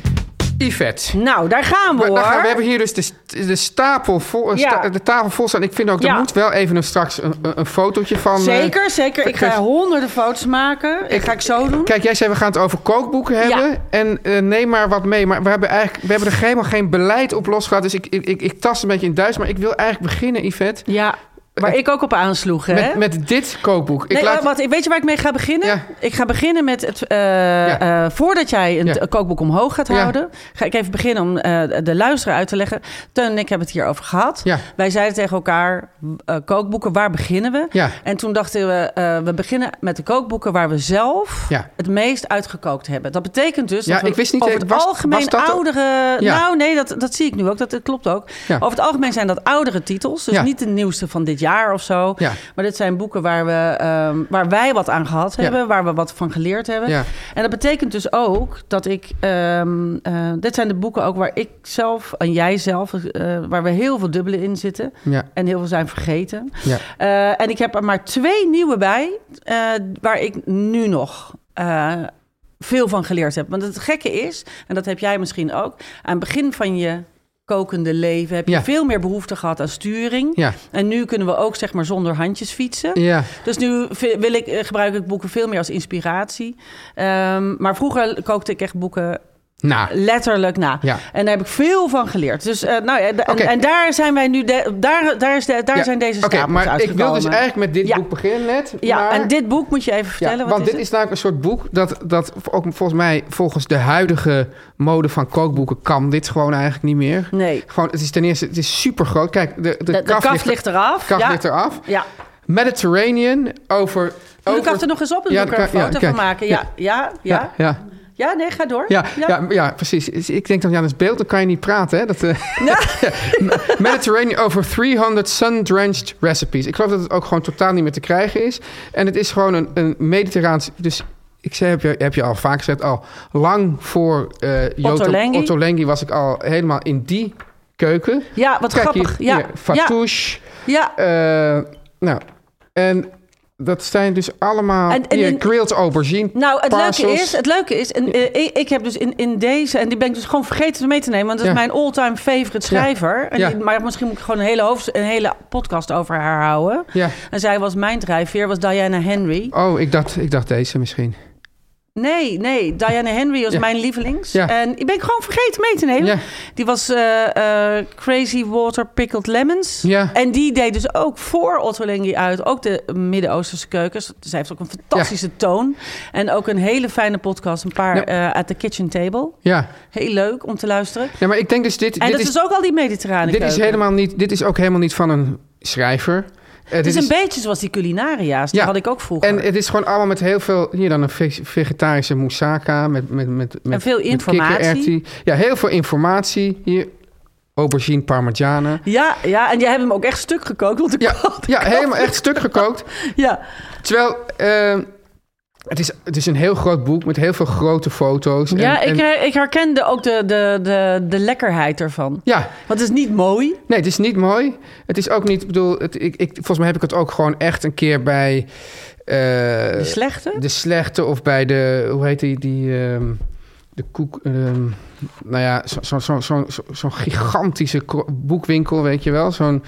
Speaker 2: Yvette.
Speaker 3: Nou, daar gaan we
Speaker 2: Maar
Speaker 3: hoor.
Speaker 2: dan gaan- we hebben hier dus de, st- de stapel vol, eh,
Speaker 3: Ja.
Speaker 2: sta- de tafel vol staan. Ik vind ook, er
Speaker 3: Ja.
Speaker 2: moet wel even een, straks een, een, een fotootje van... eh,
Speaker 3: Zeker, zeker. Ik ga
Speaker 2: Kijk,
Speaker 3: honderden foto's maken. Ik ga ik zo doen.
Speaker 2: Kijk, jij zei we gaan het over kookboeken hebben.
Speaker 3: Ja.
Speaker 2: En eh, neem maar wat mee. Maar we hebben, eigenlijk, we hebben er helemaal geen beleid op los gehad. Dus ik, ik, ik, ik tast een beetje in Duits. Maar ik wil eigenlijk beginnen, Yvette,
Speaker 3: Ja, waar ik ook op aansloeg, hè?
Speaker 2: met, met dit kookboek. Ik
Speaker 3: nee,
Speaker 2: laat-
Speaker 3: wat, weet je waar ik mee ga beginnen?
Speaker 2: Ja.
Speaker 3: Ik ga beginnen met het. eh,
Speaker 2: Ja.
Speaker 3: eh, voordat jij een
Speaker 2: Ja.
Speaker 3: t- kookboek omhoog gaat
Speaker 2: Ja.
Speaker 3: houden, ga ik even beginnen om eh, de luisteraar uit te leggen. Teun en ik hebben het hierover gehad.
Speaker 2: Ja.
Speaker 3: Wij zeiden tegen elkaar: eh, kookboeken, waar beginnen we?
Speaker 2: Ja.
Speaker 3: En toen dachten we: eh, we beginnen met de kookboeken waar we zelf
Speaker 2: Ja.
Speaker 3: het meest uitgekookt hebben. Dat betekent dus.
Speaker 2: Ja,
Speaker 3: dat we
Speaker 2: ik wist niet,
Speaker 3: over
Speaker 2: eh,
Speaker 3: het
Speaker 2: was-
Speaker 3: algemeen
Speaker 2: was dat-
Speaker 3: oudere.
Speaker 2: Ja.
Speaker 3: Nou, nee, dat, dat zie ik nu ook. Dat, dat klopt ook.
Speaker 2: Ja.
Speaker 3: Over het algemeen zijn dat oudere titels. Dus
Speaker 2: Ja.
Speaker 3: niet de nieuwste van dit jaar of zo.
Speaker 2: Ja.
Speaker 3: Maar dit zijn boeken waar, we, ehm, waar wij wat aan gehad
Speaker 2: Ja.
Speaker 3: hebben, waar we wat van geleerd hebben.
Speaker 2: Ja.
Speaker 3: En dat betekent dus ook dat ik. ehm, eh, dit zijn de boeken ook waar ik zelf en jij zelf, eh, waar we heel veel dubbelen in zitten.
Speaker 2: Ja.
Speaker 3: En heel veel zijn vergeten.
Speaker 2: Ja.
Speaker 3: Eh, en ik heb er maar twee nieuwe bij, eh, waar ik nu nog. eh, veel van geleerd heb. Want het gekke is, en dat heb jij misschien ook, aan het begin van je kokende leven heb je
Speaker 2: Ja.
Speaker 3: veel meer behoefte gehad aan sturing.
Speaker 2: Ja.
Speaker 3: En nu kunnen we ook zeg maar zonder handjes fietsen.
Speaker 2: Ja.
Speaker 3: Dus nu vi- wil ik, eh, gebruik ik boeken veel meer als inspiratie. Ehm, maar vroeger kookte ik echt boeken
Speaker 2: Nou,
Speaker 3: letterlijk na.
Speaker 2: Ja.
Speaker 3: En daar heb ik veel van geleerd. Dus eh, nou, ja, d- en,
Speaker 2: Oké.
Speaker 3: en daar zijn wij nu, de- daar, daar, is de- daar
Speaker 2: ja.
Speaker 3: zijn deze
Speaker 2: Oké,
Speaker 3: stapels
Speaker 2: maar ik wil dus
Speaker 3: uitgekomen.
Speaker 2: eigenlijk met dit
Speaker 3: Ja.
Speaker 2: boek beginnen net.
Speaker 3: Ja,
Speaker 2: maar-
Speaker 3: en dit boek moet je even vertellen.
Speaker 2: Ja,
Speaker 3: wat
Speaker 2: want
Speaker 3: is
Speaker 2: dit
Speaker 3: het?
Speaker 2: is namelijk een soort boek dat, dat ook volgens mij, volgens de huidige mode van kookboeken, kan dit gewoon eigenlijk niet meer.
Speaker 3: Nee,
Speaker 2: Gewoon, het is ten eerste, het is super groot. Kijk, de, de,
Speaker 3: de, de kaft, ligt eraf.
Speaker 2: kaf
Speaker 3: ja.
Speaker 2: ligt eraf.
Speaker 3: Ja.
Speaker 2: Mediterranean over.
Speaker 3: Doe
Speaker 2: over
Speaker 3: ik af er nog eens op en
Speaker 2: Ja,
Speaker 3: doe ik er een
Speaker 2: kan- ja,
Speaker 3: foto
Speaker 2: kijk.
Speaker 3: van maken. Ja, ja, ja.
Speaker 2: ja, ja,
Speaker 3: Ja, nee, ga door.
Speaker 2: ja, ja. ja, precies. Dus Ik denk dan, ja, dat is beeld, dan kan je niet praten. Hè? Dat, eh, Mediterranean over 300 sun-drenched recipes. Ik geloof dat het ook gewoon totaal niet meer te krijgen is. En het is gewoon een, een mediterraans... Dus ik zei, heb je, heb je al vaak gezegd, al lang voor eh
Speaker 3: Ottolenghi.
Speaker 2: Ottolenghi was ik al helemaal in die keuken.
Speaker 3: Ja, wat
Speaker 2: Kijk
Speaker 3: grappig.
Speaker 2: hier,
Speaker 3: ja.
Speaker 2: hier, fatouche.
Speaker 3: ja, ja.
Speaker 2: eh, nou, en dat zijn dus allemaal...
Speaker 3: En- en
Speaker 2: hier,
Speaker 3: in-
Speaker 2: grilled aubergine.
Speaker 3: Nou, het
Speaker 2: parcels.
Speaker 3: leuke is, het leuke is en, eh, ik, ik heb dus in, in deze, en die ben ik dus gewoon vergeten mee te nemen, want dat
Speaker 2: Ja.
Speaker 3: is mijn all-time favorite schrijver. En
Speaker 2: Ja.
Speaker 3: die- maar misschien moet ik gewoon een hele, hoofd, een hele podcast over haar houden.
Speaker 2: Ja.
Speaker 3: En zij was mijn drijfveer, was Diana Henry.
Speaker 2: Oh, ik dacht, ik dacht deze misschien.
Speaker 3: Nee, nee, Diana Henry was
Speaker 2: Ja.
Speaker 3: mijn lievelings.
Speaker 2: Ja.
Speaker 3: En die ben ik gewoon vergeten mee te nemen.
Speaker 2: Ja.
Speaker 3: Die was eh, eh, Crazy Water Pickled Lemons.
Speaker 2: Ja.
Speaker 3: En die deed dus ook voor Otto Lengi uit. Ook de Midden-Oosterse keukens. Zij heeft ook een fantastische toon. En ook een hele fijne podcast. Een paar
Speaker 2: Ja.
Speaker 3: eh at the kitchen table.
Speaker 2: Ja.
Speaker 3: Heel leuk om te luisteren.
Speaker 2: ja, maar ik denk dus dit...
Speaker 3: En
Speaker 2: dit
Speaker 3: dat
Speaker 2: is,
Speaker 3: is, dus ook al die mediterrane
Speaker 2: Dit is,
Speaker 3: keuken.
Speaker 2: helemaal niet, dit is ook helemaal niet van een schrijver. Eh,
Speaker 3: Het
Speaker 2: dit
Speaker 3: is een beetje zoals die culinaria's. Die
Speaker 2: Ja.
Speaker 3: had ik ook vroeger.
Speaker 2: en het is gewoon allemaal met heel veel... Hier dan een ve- vegetarische moussaka met, met, met, met
Speaker 3: En veel
Speaker 2: met
Speaker 3: informatie.
Speaker 2: kikkererwten. Ja, heel veel informatie. Hier aubergine parmigiana.
Speaker 3: ja, ja, en jij hebt hem ook echt stuk gekookt. Want ik
Speaker 2: Ja,
Speaker 3: had-
Speaker 2: ja helemaal echt stuk gekookt.
Speaker 3: ja.
Speaker 2: Terwijl eh, Het is, het is een heel groot boek met heel veel grote foto's. en-
Speaker 3: Ja, ik,
Speaker 2: en-
Speaker 3: eh, ik herkende ook de, de, de, de lekkerheid ervan.
Speaker 2: ja,
Speaker 3: Want het is niet mooi.
Speaker 2: nee, het is niet mooi. Het is ook niet, ik bedoel, het, ik, ik, volgens mij heb ik het ook gewoon echt een keer bij eh,
Speaker 3: De slechte.
Speaker 2: de slechte of bij de, hoe heet die, die ehm, de koek, ehm, nou ja, zo'n zo, zo, zo, zo, zo'n gigantische kro- boekwinkel, weet je wel? Zo'n,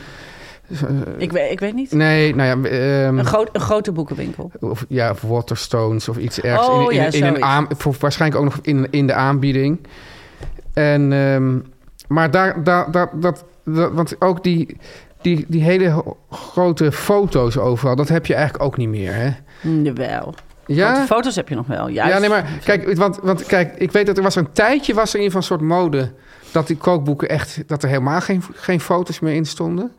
Speaker 2: eh,
Speaker 3: Ik, weet- ik weet niet.
Speaker 2: nee, nou ja, ehm,
Speaker 3: Een, groot, een grote boekenwinkel.
Speaker 2: of, ja, of Waterstones of iets ergs.
Speaker 3: Oh,
Speaker 2: in, in,
Speaker 3: ja,
Speaker 2: in een
Speaker 3: zoiets.
Speaker 2: aan, voor, waarschijnlijk ook nog in, in de aanbieding. En, ehm, maar daar, daar, daar, dat, dat- want ook die, die, die hele ho- grote foto's overal, dat heb je eigenlijk ook niet meer, hè?
Speaker 3: Jawel. Grote foto's heb je nog wel. Juist.
Speaker 2: Ja, nee, maar kijk, want, want kijk, ik weet dat er was een tijdje was er in van soort mode dat die kookboeken echt dat er helemaal geen, geen foto's meer in stonden.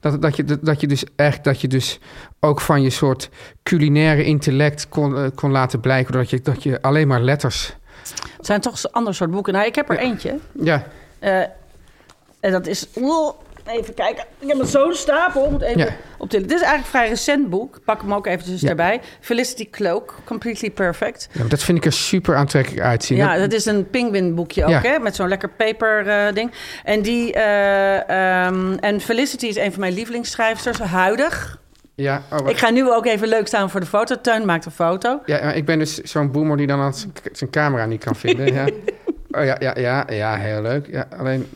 Speaker 2: Dat, dat, je, dat je dus echt dat je dus ook van je soort culinaire intellect kon, eh, kon laten blijken dat je dat je alleen maar letters.
Speaker 3: Het zijn toch een ander soort boeken. Nou, ik heb er eentje.
Speaker 2: Ja,
Speaker 3: Eh, en dat is... Oeh, even kijken. Ik heb zo'n stapel. Moet even
Speaker 2: Ja.
Speaker 3: op Dit is eigenlijk een vrij recent boek. Pak hem ook eventjes
Speaker 2: Ja.
Speaker 3: erbij. Felicity Cloak. Completely Perfect.
Speaker 2: ja maar dat vind ik er super aantrekkelijk uitzien.
Speaker 3: Ja,
Speaker 2: Dat-
Speaker 3: dat is een pinguïnboekje ook,
Speaker 2: Ja.
Speaker 3: hè? Met zo'n lekker paper eh, ding. En die... eh, ehm, en Felicity is een van mijn lievelingsschrijfsters, huidig.
Speaker 2: ja, oh, wacht.
Speaker 3: Ik ga nu ook even leuk staan voor de foto. Teun maakt een foto.
Speaker 2: ja, maar ik ben dus zo'n boomer die dan aan zijn- zijn camera niet kan vinden. Ja. Oh ja, ja, ja, ja, heel leuk. Ja, alleen.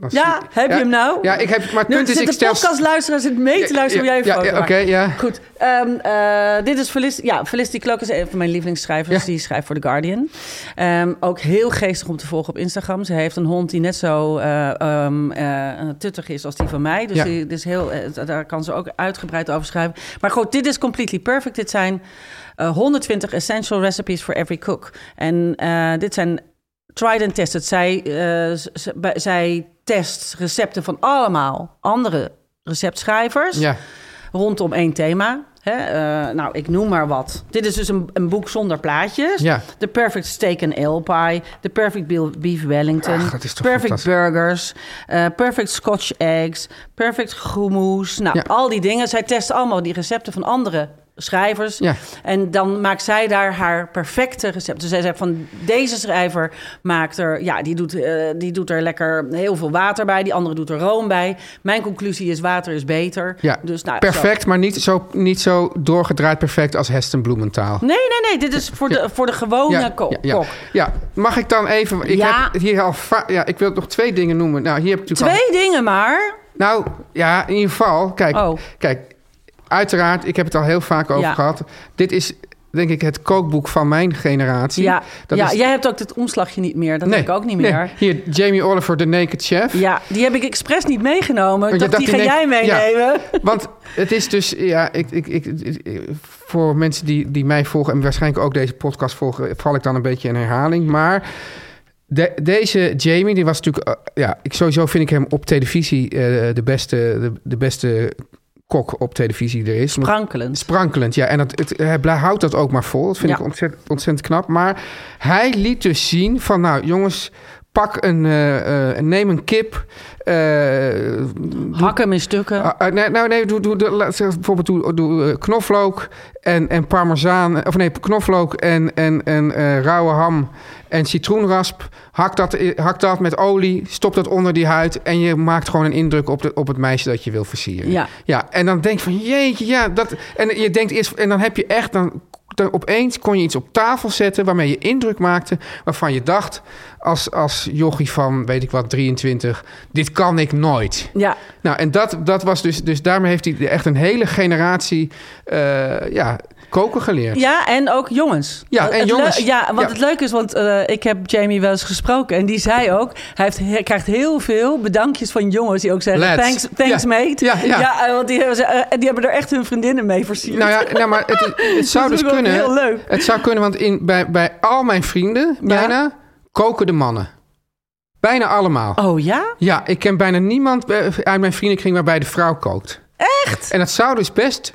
Speaker 2: dan zie-
Speaker 3: Ja, heb je hem nou?
Speaker 2: Ja, ik heb. Maar het
Speaker 3: Nu
Speaker 2: punt is, ik
Speaker 3: zit de
Speaker 2: stel.
Speaker 3: podcast luisteren, zit mee te luisteren hoe jij je
Speaker 2: ja,
Speaker 3: foto
Speaker 2: ja,
Speaker 3: maakt.
Speaker 2: Oké, ja.
Speaker 3: Goed, ehm, eh, dit is Felicity, ja, Felicity Cloak is een van mijn lievelingsschrijvers.
Speaker 2: Ja.
Speaker 3: Die schrijft voor The Guardian. Ehm, ook heel geestig om te volgen op Instagram. Ze heeft een hond die net zo eh, ehm, eh, tuttig is als die van mij. Dus
Speaker 2: Ja.
Speaker 3: die, dus heel, eh, daar kan ze ook uitgebreid over schrijven. Maar goed, dit is Completely Perfect. Dit zijn eh, 120 essential recipes for every cook. En eh, dit zijn tried and tested. Zij, eh, z- z- bij- zij test recepten van allemaal andere receptschrijvers
Speaker 2: Ja,
Speaker 3: rondom één thema. Hè? eh, nou, ik noem maar wat. Dit is dus een, een boek zonder plaatjes.
Speaker 2: ja.
Speaker 3: The Perfect Steak and Ale Pie. The Perfect Be- Beef Wellington.
Speaker 2: Ach, dat is toch
Speaker 3: perfect
Speaker 2: fantastisch.
Speaker 3: Burgers. eh, perfect Scotch Eggs. Perfect Groemoes. Nou,
Speaker 2: Ja.
Speaker 3: al die dingen. Zij test allemaal die recepten van andere schrijvers.
Speaker 2: Ja.
Speaker 3: En dan maakt zij daar haar perfecte recept. Dus zij zegt van deze schrijver maakt er, ja, die doet, eh, die doet er lekker heel veel water bij. Die andere doet er room bij. Mijn conclusie is water is beter.
Speaker 2: ja.
Speaker 3: dus, nou, zo.
Speaker 2: perfect, maar niet zo, niet zo doorgedraaid perfect als Heston Bloementaal.
Speaker 3: Nee, nee, nee. Dit is voor de, voor de gewone
Speaker 2: Ja,
Speaker 3: kok.
Speaker 2: ja, ja.
Speaker 3: kok.
Speaker 2: Ja, mag ik dan even... Ik
Speaker 3: Ja.
Speaker 2: heb hier al va- ja, ik wil nog twee dingen noemen. Nou, hier heb ik natuurlijk al-
Speaker 3: Twee dingen maar.
Speaker 2: Nou, ja, in ieder geval. Kijk,
Speaker 3: Oh.
Speaker 2: kijk, uiteraard, ik heb het al heel vaak over
Speaker 3: Ja.
Speaker 2: gehad. Dit is, denk ik, het kookboek van mijn generatie.
Speaker 3: Ja,
Speaker 2: Dat
Speaker 3: ja
Speaker 2: is-
Speaker 3: jij hebt ook dit omslagje niet meer. Dat
Speaker 2: Nee,
Speaker 3: heb ik ook niet
Speaker 2: nee.
Speaker 3: meer.
Speaker 2: Hier, Jamie Oliver, The Naked Chef.
Speaker 3: Ja, die heb ik expres niet
Speaker 2: Oh,
Speaker 3: meegenomen.
Speaker 2: je
Speaker 3: Ik dacht,
Speaker 2: dacht,
Speaker 3: die ga
Speaker 2: die
Speaker 3: jij
Speaker 2: neemt- ja.
Speaker 3: meenemen.
Speaker 2: Want het is dus, ja, ik, ik, ik, ik- voor mensen die, die mij volgen en waarschijnlijk ook deze podcast volgen, val ik dan een beetje in herhaling. Maar de- deze Jamie, die was natuurlijk, eh, ja, ik, sowieso vind ik hem op televisie eh, de, beste, de, de beste kok op televisie er is.
Speaker 3: Frankelend.
Speaker 2: Sprankelend, ja. En dat, het, hij blij- houdt dat ook maar vol. Dat vind
Speaker 3: Ja.
Speaker 2: ik ontzettend, ontzettend knap. Maar hij liet dus zien van, nou jongens, pak een, eh, eh, neem een kip, eh,
Speaker 3: Hak hem in stukken.
Speaker 2: Ah, ah, nee, nou nee, doe, doe, doe- laat- zeg, bijvoorbeeld doe, doe eh, knoflook en, en parmezaan. eh, Of nee, knoflook en, en, en eh, rauwe ham en citroenrasp. Hak dat, i- hak dat met olie, stop dat onder die huid... en je maakt gewoon een indruk op, de, op het meisje dat je wil versieren.
Speaker 3: Ja.
Speaker 2: ja en dan denk je van, jeetje, ja, dat... En je denkt eerst, en dan heb je echt... Dan, dan opeens kon je iets op tafel zetten waarmee je indruk maakte... waarvan je dacht als, als jochie van, weet ik wat, 23... dit kan ik nooit.
Speaker 3: ja,
Speaker 2: Nou, en dat, dat was dus, dus daarmee heeft hij echt een hele generatie eh, ja, koken geleerd.
Speaker 3: ja, en ook jongens.
Speaker 2: Ja, en
Speaker 3: Het leu-
Speaker 2: jongens.
Speaker 3: Ja, want
Speaker 2: Ja.
Speaker 3: het leuke is, want eh, ik heb Jamie wel eens gesproken. En die zei ook, hij, heeft, hij krijgt heel veel bedankjes van jongens die ook zeggen...
Speaker 2: Lads.
Speaker 3: Thanks, thanks
Speaker 2: Ja.
Speaker 3: mate.
Speaker 2: Ja, ja.
Speaker 3: eh, want die hebben, ze, eh, die hebben er echt hun vriendinnen mee versierd.
Speaker 2: Nou ja, nou, maar het, het zou
Speaker 3: Dat
Speaker 2: dus
Speaker 3: is ook
Speaker 2: kunnen.
Speaker 3: heel leuk.
Speaker 2: Het zou kunnen, want in, bij, bij al mijn vrienden bijna koken de mannen. Bijna allemaal.
Speaker 3: Oh ja?
Speaker 2: Ja, ik ken bijna niemand eh, uit mijn vriendenkring waarbij de vrouw kookt.
Speaker 3: Echt?
Speaker 2: En dat zou dus best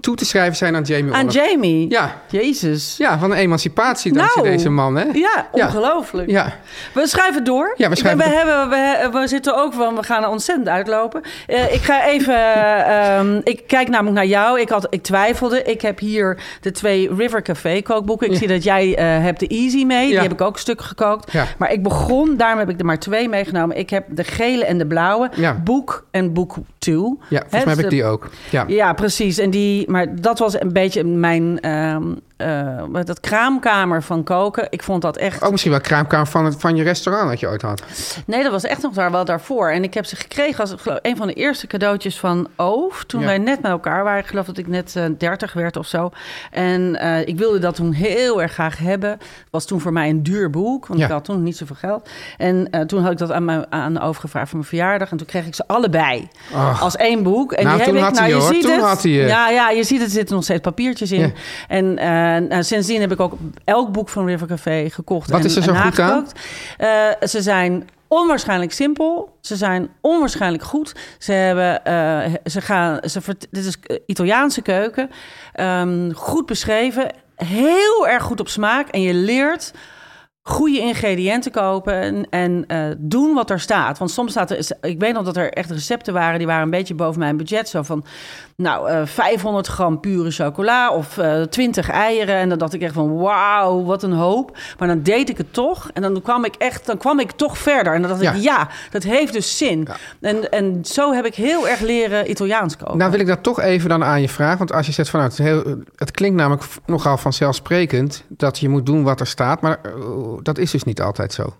Speaker 2: toe te schrijven zijn aan Jamie
Speaker 3: Aan
Speaker 2: Oliver.
Speaker 3: Jamie?
Speaker 2: Ja.
Speaker 3: Jezus.
Speaker 2: Ja, van een emancipatie dankzij
Speaker 3: Nou.
Speaker 2: deze man, hè?
Speaker 3: Ja,
Speaker 2: Ja.
Speaker 3: ongelooflijk.
Speaker 2: Ja.
Speaker 3: We schrijven door.
Speaker 2: Ja, we schrijven
Speaker 3: Ik ben- we, hebben, we, we zitten ook van, we gaan ontzettend uitlopen. Eh, ik ga even, eh, ehm, ik kijk namelijk naar jou. Ik, had, ik twijfelde. Ik heb hier de twee River Café kookboeken. Ik
Speaker 2: Ja.
Speaker 3: zie dat jij eh, hebt de Easy mee. Die
Speaker 2: Ja.
Speaker 3: heb ik ook stuk gekookt.
Speaker 2: Ja.
Speaker 3: Maar ik begon, daarom heb ik er maar twee meegenomen. Ik heb de gele en de blauwe.
Speaker 2: Ja.
Speaker 3: Boek en boek 2.
Speaker 2: Ja, volgens mij heb ik die ook. Ja.
Speaker 3: Ja, precies. En die, maar dat was een beetje mijn, ehm, eh, wat- dat kraamkamer van koken. Ik vond dat echt...
Speaker 2: Ook misschien wel kraamkamer van, het, van je restaurant dat je ooit had.
Speaker 3: Nee, dat was echt nog daar wel daarvoor. En ik heb ze gekregen als ik geloof, een van de eerste cadeautjes van Oof. Toen
Speaker 2: Ja.
Speaker 3: wij net met elkaar waren. Ik geloof dat ik net eh 30 werd of zo. En eh, ik wilde dat toen heel erg graag hebben. Was toen voor mij een duur boek. Want
Speaker 2: Ja.
Speaker 3: ik had toen niet zoveel geld. En eh, toen had ik dat aan, mijn, aan Oof gevraagd voor mijn verjaardag. En toen kreeg ik ze allebei.
Speaker 2: Ach.
Speaker 3: Als één boek. En
Speaker 2: Nou,
Speaker 3: die
Speaker 2: toen
Speaker 3: heb ik,
Speaker 2: had
Speaker 3: nou,
Speaker 2: hij
Speaker 3: je
Speaker 2: je, hoor.
Speaker 3: ziet
Speaker 2: Toen
Speaker 3: het.
Speaker 2: had hij je.
Speaker 3: Ja, ja, je ziet het. Er zitten nog steeds papiertjes in.
Speaker 2: Ja.
Speaker 3: En eh, nou, sindsdien heb ik ook elk boek van River Café gekocht.
Speaker 2: Wat
Speaker 3: en,
Speaker 2: is er zo
Speaker 3: en
Speaker 2: goed aan?
Speaker 3: nagekookt. Eh, ze zijn onwaarschijnlijk simpel. Ze zijn onwaarschijnlijk goed. Ze hebben, eh, ze gaan, ze vert- dit is eh, Italiaanse keuken. Ehm, goed beschreven. Heel erg goed op smaak. En je leert goede ingrediënten kopen en, en eh, doen wat er staat. Want soms staat er, ik weet nog dat er echt recepten waren, die waren een beetje boven mijn budget. Zo van, nou, eh, 500 gram pure chocola of eh 20 eieren. En dan dacht ik echt van, wauw, wat een hoop. Maar dan deed ik het toch. En dan kwam ik echt, dan kwam ik toch verder. En dan dacht
Speaker 2: Ja.
Speaker 3: ik, ja, dat heeft dus zin.
Speaker 2: Ja.
Speaker 3: En, en zo heb ik heel erg leren Italiaans koken.
Speaker 2: Nou wil ik dat toch even dan aan je vragen. Want als je zegt van nou, het, is heel, het klinkt namelijk v- nogal vanzelfsprekend dat je moet doen wat er staat. Maar eh, dat is dus niet altijd zo.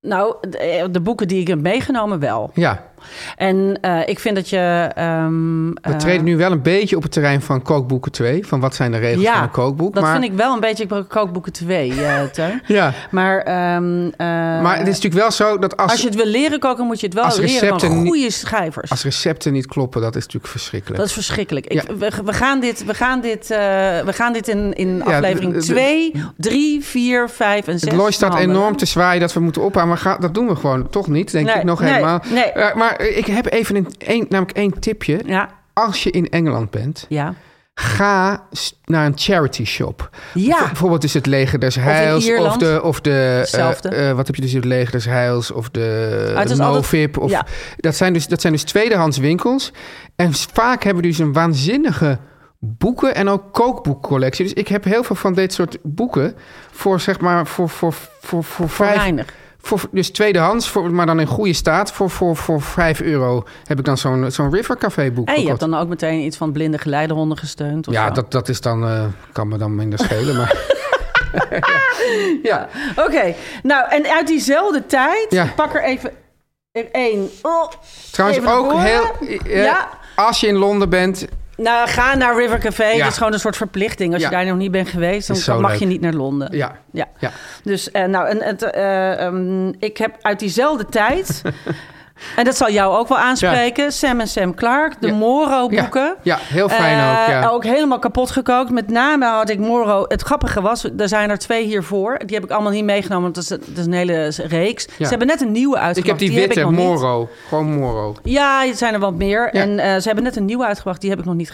Speaker 3: Nou, de, de boeken die ik heb meegenomen wel.
Speaker 2: Ja,
Speaker 3: En eh, ik vind dat je... ehm,
Speaker 2: we
Speaker 3: eh,
Speaker 2: treden nu wel een beetje op het terrein van kookboeken 2. Van wat zijn de regels
Speaker 3: Ja,
Speaker 2: van een kookboek.
Speaker 3: Dat
Speaker 2: maar,
Speaker 3: vind ik wel een beetje ik kookboeken 2, eh Teun.
Speaker 2: Ja,
Speaker 3: Maar, ehm, eh,
Speaker 2: maar het is natuurlijk wel zo dat als,
Speaker 3: als je het wil leren koken, moet je het wel
Speaker 2: als
Speaker 3: leren
Speaker 2: recepten
Speaker 3: van
Speaker 2: niet-
Speaker 3: goede schrijvers.
Speaker 2: als recepten niet kloppen, dat is natuurlijk verschrikkelijk.
Speaker 3: Dat is verschrikkelijk. Ik,
Speaker 2: Ja.
Speaker 3: we, we gaan dit, we gaan dit, eh, we gaan dit in, in
Speaker 2: de-
Speaker 3: aflevering
Speaker 2: de-
Speaker 3: 2, 3, 4, 5 en 6.
Speaker 2: Het looi staat enorm te zwaaien dat we moeten ophouden. Maar ga- dat doen we gewoon toch niet, denk
Speaker 3: Nee,
Speaker 2: ik nog
Speaker 3: nee,
Speaker 2: helemaal.
Speaker 3: nee.
Speaker 2: Eh, maar ik heb even een, een, namelijk één tipje.
Speaker 3: Ja,
Speaker 2: Als je in Engeland bent,
Speaker 3: ja.
Speaker 2: ga s- naar een charity shop.
Speaker 3: Ja.
Speaker 2: B- Bijvoorbeeld dus het Leger des Heils. Of,
Speaker 3: Ierland.
Speaker 2: de, of de
Speaker 3: Hetzelfde.
Speaker 2: eh, eh, wat heb je dus het Leger des Heils of de
Speaker 3: Ah, het is
Speaker 2: Movip.
Speaker 3: altijd-
Speaker 2: Of,
Speaker 3: ja.
Speaker 2: dat, zijn dus, dat zijn dus tweedehands winkels. En s- vaak hebben die dus een waanzinnige boeken en ook kookboekcollectie. Dus ik heb heel veel van dit soort boeken voor zeg maar voor, voor, voor, voor,
Speaker 3: Voor
Speaker 2: vijf,
Speaker 3: weinig.
Speaker 2: voor, dus tweedehands, voor, maar dan in goede staat. Voor, voor, voor 5 euro heb ik dan zo'n zo'n River Café boek.
Speaker 3: En je
Speaker 2: gekocht.
Speaker 3: hebt dan ook meteen iets van blinde geleidehonden gesteund. Of
Speaker 2: Ja,
Speaker 3: zo.
Speaker 2: dat, dat is dan, eh, kan me dan minder schelen. Maar ja.
Speaker 3: Oké, nou en uit diezelfde tijd,
Speaker 2: Ja.
Speaker 3: ik pak er even er één. Oh,
Speaker 2: Trouwens,
Speaker 3: even naar
Speaker 2: ook
Speaker 3: voren.
Speaker 2: heel. eh,
Speaker 3: Ja.
Speaker 2: Als je in Londen bent,
Speaker 3: Nou, ga naar River Café.
Speaker 2: Ja.
Speaker 3: Dat is gewoon een soort verplichting. Als
Speaker 2: Ja.
Speaker 3: je daar nog niet bent geweest,
Speaker 2: Is zo
Speaker 3: dan mag
Speaker 2: leuk.
Speaker 3: je niet naar Londen.
Speaker 2: ja.
Speaker 3: Ja.
Speaker 2: Ja.
Speaker 3: Dus, eh, nou, en, het, eh, ehm, ik heb uit diezelfde tijd... en dat zal jou ook wel aanspreken. Sam en Sam Clark, de
Speaker 2: Ja.
Speaker 3: Moro-boeken.
Speaker 2: Ja. Ja, heel fijn
Speaker 3: Eh,
Speaker 2: ook, ja.
Speaker 3: Ook helemaal kapot gekookt. Met name had ik Moro... Het grappige was, er zijn er twee hiervoor. Die heb ik allemaal niet meegenomen, want dat is, dat is een hele reeks.
Speaker 2: Ja.
Speaker 3: Ze hebben net een nieuwe
Speaker 2: Ik
Speaker 3: uitgebracht.
Speaker 2: heb die witte,
Speaker 3: nog niet.
Speaker 2: Moro. Gewoon Moro.
Speaker 3: Ja, het zijn er wat meer.
Speaker 2: Ja.
Speaker 3: En eh, ze hebben net een nieuwe uitgebracht, die heb ik nog niet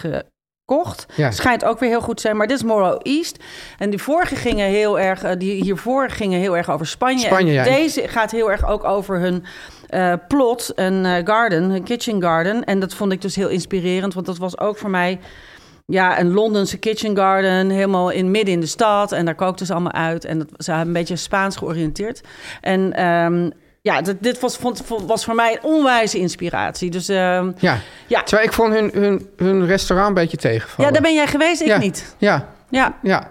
Speaker 3: gekocht.
Speaker 2: Ja.
Speaker 3: Schijnt ook weer heel goed te zijn, maar dit is Moro East. En die vorige gingen heel erg, eh, die hiervoor gingen heel erg over Spanje.
Speaker 2: Spanje,
Speaker 3: En
Speaker 2: ja.
Speaker 3: Deze gaat heel erg ook over hun eh, plot, een eh, garden, een kitchen garden. En dat vond ik dus heel inspirerend, want dat was ook voor mij... Ja, een Londense kitchen garden, helemaal in midden in de stad. En daar kookten ze allemaal uit. En dat, ze hebben een beetje Spaans georiënteerd. En ehm, ja, dit, dit was, vond, was voor mij een onwijze inspiratie. Dus ehm,
Speaker 2: Ja.
Speaker 3: Ja.
Speaker 2: Terwijl ik vond hun, hun, hun restaurant een beetje tegenvallen.
Speaker 3: ja, daar ben jij geweest, ik
Speaker 2: Ja.
Speaker 3: niet.
Speaker 2: Ja,
Speaker 3: Ja,
Speaker 2: ja.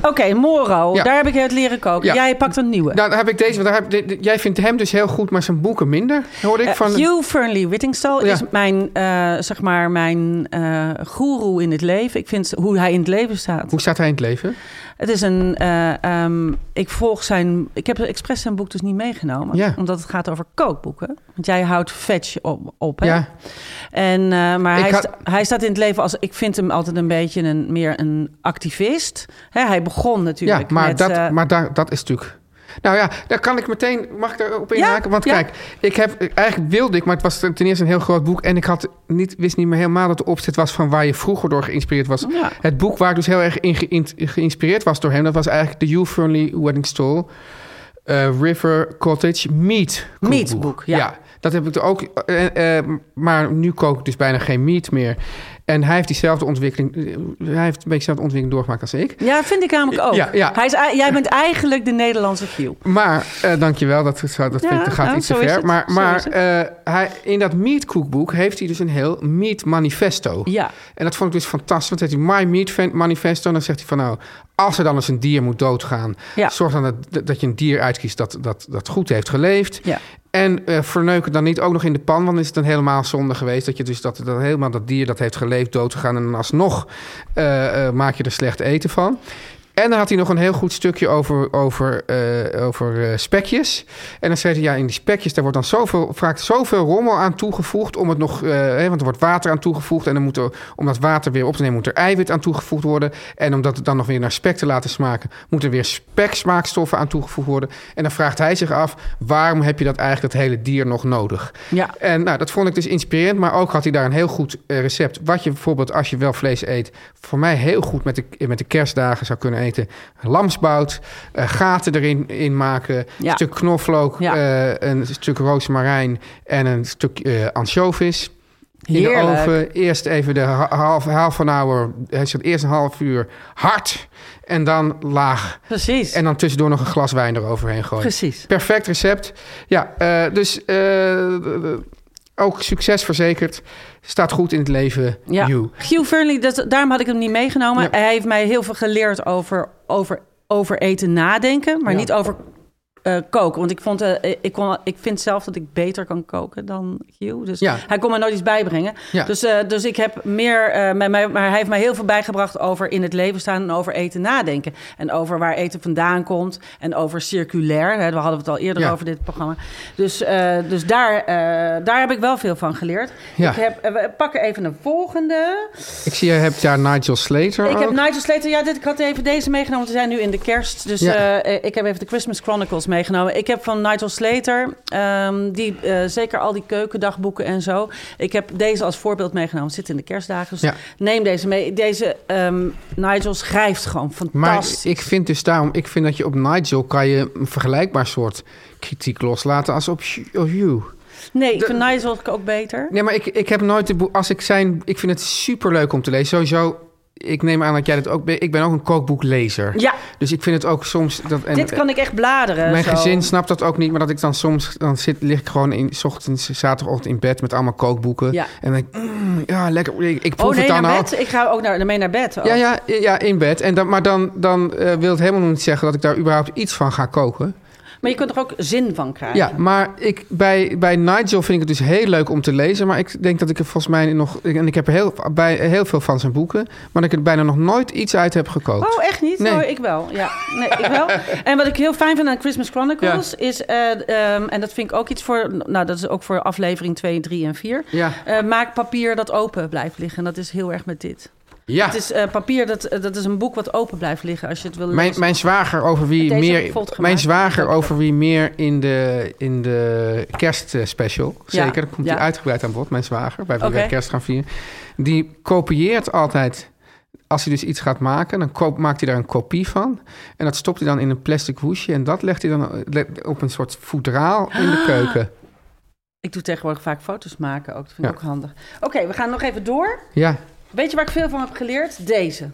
Speaker 3: oké, Moro,
Speaker 2: Ja.
Speaker 3: daar heb ik het leren koken.
Speaker 2: Ja.
Speaker 3: Jij pakt een nieuwe.
Speaker 2: Nou, dan heb ik deze, want daar heb, dit- dit- jij vindt hem dus heel goed, maar zijn boeken minder, hoorde ik
Speaker 3: Eh,
Speaker 2: van...
Speaker 3: Hugh Fernley Whittingstall
Speaker 2: Ja.
Speaker 3: is mijn, eh, zeg maar, mijn eh goeroe in het leven. Ik vind hoe hij in het leven staat.
Speaker 2: Hoe staat hij in het leven?
Speaker 3: Het is een. eh, ehm, ik volg zijn. Ik heb expres zijn boek dus niet meegenomen.
Speaker 2: Ja.
Speaker 3: Omdat het gaat over kookboeken. Want jij houdt fetch op. op hè?
Speaker 2: Ja.
Speaker 3: En, eh, maar
Speaker 2: Ik
Speaker 3: hij,
Speaker 2: had-
Speaker 3: sta- hij staat in het leven als. Ik vind hem altijd een beetje een, meer een activist. Hè, hij begon natuurlijk.
Speaker 2: Ja, maar,
Speaker 3: met,
Speaker 2: dat,
Speaker 3: eh,
Speaker 2: maar daar, dat is natuurlijk... Nou ja, daar kan ik meteen, mag ik daarop inhaken? Want
Speaker 3: ja.
Speaker 2: kijk, ik heb, eigenlijk wilde ik, maar het was ten eerste een heel groot boek. En ik had niet, wist niet meer helemaal dat de opzet was van waar je vroeger door geïnspireerd was.
Speaker 3: Ja.
Speaker 2: Het boek waar ik dus heel erg in geïn- geïnspireerd was door hem, dat was eigenlijk de You Friendly Wedding Stall. eh, River Cottage Meat
Speaker 3: Meat
Speaker 2: kookboek.
Speaker 3: boek, ja.
Speaker 2: dat heb ik er ook. eh, eh, maar nu kook ik dus bijna geen meat meer. En hij heeft diezelfde ontwikkeling. eh, hij heeft een beetje dezelfde ontwikkeling doorgemaakt als ik.
Speaker 3: Ja, vind ik namelijk ook.
Speaker 2: Ja, ja.
Speaker 3: Hij is, ei- jij bent eigenlijk de Nederlandse Giel.
Speaker 2: Maar, eh, dankjewel, dat, dat, dat
Speaker 3: Ja,
Speaker 2: vind ik- dat gaat
Speaker 3: nou,
Speaker 2: iets te
Speaker 3: zo is
Speaker 2: ver.
Speaker 3: het.
Speaker 2: Maar,
Speaker 3: Zo is
Speaker 2: maar
Speaker 3: het.
Speaker 2: eh, hij, in dat Meat Cookboek heeft hij dus een heel Meat Manifesto.
Speaker 3: Ja.
Speaker 2: En dat vond ik dus fantastisch. Want dan heeft hij My Meat Fan- Manifesto. En dan zegt hij van nou, als er dan eens een dier moet doodgaan...
Speaker 3: Ja.
Speaker 2: zorg dan dat, dat je een dier uitkiest dat, dat, dat goed heeft geleefd.
Speaker 3: Ja.
Speaker 2: En eh verneuk het dan niet ook nog in de pan, want dan is het dan helemaal zonde geweest. Dat je dus dat, dat helemaal dat dier dat heeft geleefd, doodgegaan. En dan alsnog eh, eh, maak je er slecht eten van. En dan had hij nog een heel goed stukje over, over, eh, over eh, spekjes. En dan zei hij, ja, in die spekjes, daar wordt dan zoveel, vaak zoveel rommel aan toegevoegd. Om het nog, eh, hè, want er wordt water aan toegevoegd. En dan moet er, om dat water weer op te nemen, moet er eiwit aan toegevoegd worden. En om dat dan nog weer naar spek te laten smaken, moeten weer speksmaakstoffen aan toegevoegd worden. En dan vraagt hij zich af, waarom heb je dat eigenlijk, dat hele dier, nog nodig?
Speaker 3: Ja.
Speaker 2: En nou, dat vond ik dus inspirerend. Maar ook had hij daar een heel goed eh, recept. Wat je bijvoorbeeld, als je wel vlees eet... voor mij heel goed met de, met de kerstdagen zou kunnen eten. Lamsbout, eh, gaten erin in maken.
Speaker 3: Ja.
Speaker 2: Een stuk knoflook,
Speaker 3: Ja.
Speaker 2: eh, een stuk roosmarijn... en een stuk eh ansjovis. In de
Speaker 3: Heerlijk.
Speaker 2: oven eerst even de ha- half, half an hour... Hij zegt eerst een half uur hard en dan laag.
Speaker 3: Precies.
Speaker 2: En dan tussendoor nog een glas wijn eroverheen gooien.
Speaker 3: Precies.
Speaker 2: Perfect recept. Ja, eh, dus eh, ook succes verzekerd. Staat goed in het leven.
Speaker 3: Ja.
Speaker 2: You.
Speaker 3: Giel Fernley, dat, daarom had ik hem niet meegenomen.
Speaker 2: Ja.
Speaker 3: Hij heeft mij heel veel geleerd over, over, over eten nadenken, maar
Speaker 2: Ja.
Speaker 3: niet over eh, koken. Want ik, vond, eh, ik, kon, ik vind zelf dat ik beter kan koken dan Giel. Dus
Speaker 2: Ja.
Speaker 3: hij kon me nooit iets bijbrengen.
Speaker 2: Ja.
Speaker 3: Dus, eh, dus ik heb meer, eh, met mij, maar hij heeft mij heel veel bijgebracht over in het leven staan en over eten nadenken. En over waar eten vandaan komt en over circulair. Hè, we hadden het al eerder
Speaker 2: Ja.
Speaker 3: over dit programma. Dus, eh, dus daar, eh, daar heb ik wel veel van geleerd.
Speaker 2: Ja.
Speaker 3: Ik heb, eh, we pakken even een volgende.
Speaker 2: Ik zie, je hebt daar Nigel Slater
Speaker 3: Ik heb
Speaker 2: ook.
Speaker 3: Nigel Slater, ja, dit, ik had even deze meegenomen. want We zijn nu in de kerst, dus
Speaker 2: Ja.
Speaker 3: eh, ik heb even de Christmas Chronicles meegenomen. Ik heb van Nigel Slater, ehm, die, eh, zeker al die keukendagboeken en zo. Ik heb deze als voorbeeld meegenomen. Het zit in de kerstdagen, dus
Speaker 2: Ja.
Speaker 3: neem deze mee. Deze ehm, Nigel schrijft gewoon
Speaker 2: maar
Speaker 3: fantastisch.
Speaker 2: ik vind dus daarom, ik vind dat je op Nigel kan je een vergelijkbaar soort kritiek loslaten als op You.
Speaker 3: nee, ik
Speaker 2: de-
Speaker 3: vind Nigel ook beter.
Speaker 2: Nee, maar ik, ik heb nooit de boek. Als ik zijn, ik vind het super leuk om te lezen. Sowieso, ik neem aan dat jij dat ook. bent. Ik ben ook een kookboeklezer.
Speaker 3: Ja,
Speaker 2: Dus ik vind het ook soms dat. En,
Speaker 3: dit kan ik echt bladeren.
Speaker 2: Mijn
Speaker 3: Eh, zo. Oh,
Speaker 2: gezin snapt dat ook niet, maar dat ik dan soms dan zit, lig ik gewoon in 's ochtends, zaterdagochtend in bed met allemaal kookboeken.
Speaker 3: Ja.
Speaker 2: En dan denk ik, mm, ja, lekker. Ik, ik proef
Speaker 3: Oh nee,
Speaker 2: het dan
Speaker 3: naar
Speaker 2: al.
Speaker 3: bed. Ik ga ook naar, mee naar bed. ook.
Speaker 2: Ja, ja, ja, in bed. En dan, maar dan, dan eh, wil het helemaal niet zeggen dat ik daar überhaupt iets van ga koken.
Speaker 3: Maar je kunt er ook zin van krijgen.
Speaker 2: Ja, maar ik, bij, bij Nigel vind ik het dus heel leuk om te lezen. Maar ik denk dat ik er volgens mij nog... ik- En ik heb er heel, bij, heel veel van zijn boeken. Maar dat ik er bijna nog nooit iets uit heb gekookt.
Speaker 3: Oh, echt niet?
Speaker 2: Nee.
Speaker 3: Nee. ik wel. Ja, nee, ik wel. En wat ik heel fijn vind aan Christmas Chronicles is, eh, ehm, en dat vind ik ook iets voor, nou dat is ook voor aflevering 2, 3 en 4.
Speaker 2: Ja,
Speaker 3: Eh, maak papier dat open blijft liggen. En dat is heel erg met dit.
Speaker 2: ja.
Speaker 3: Het is eh, papier, dat, eh, dat is een boek wat open blijft liggen als je het wil
Speaker 2: Mijn,
Speaker 3: lezen.
Speaker 2: mijn zwager over wie
Speaker 3: Deze heb
Speaker 2: meer.
Speaker 3: ik volt
Speaker 2: Mijn
Speaker 3: gemaakt.
Speaker 2: zwager over wie meer in de, in de kerstspecial.
Speaker 3: Ja,
Speaker 2: Zeker, dat komt
Speaker 3: ja.
Speaker 2: hij uitgebreid aan bod. Mijn zwager, bij wie
Speaker 3: Oké.
Speaker 2: wij kerst gaan vieren. Die kopieert altijd. Als hij dus iets gaat maken, dan koop, maakt hij daar een kopie van. En dat stopt hij dan in een plastic hoesje. En dat legt hij dan eh, le- op een soort foudraal in
Speaker 3: Ah.
Speaker 2: de keuken.
Speaker 3: Ik doe tegenwoordig vaak foto's maken ook. Dat vind ik
Speaker 2: Ja.
Speaker 3: ook handig. Oké, we gaan nog even door.
Speaker 2: Ja.
Speaker 3: Weet je waar ik veel van heb geleerd? Deze.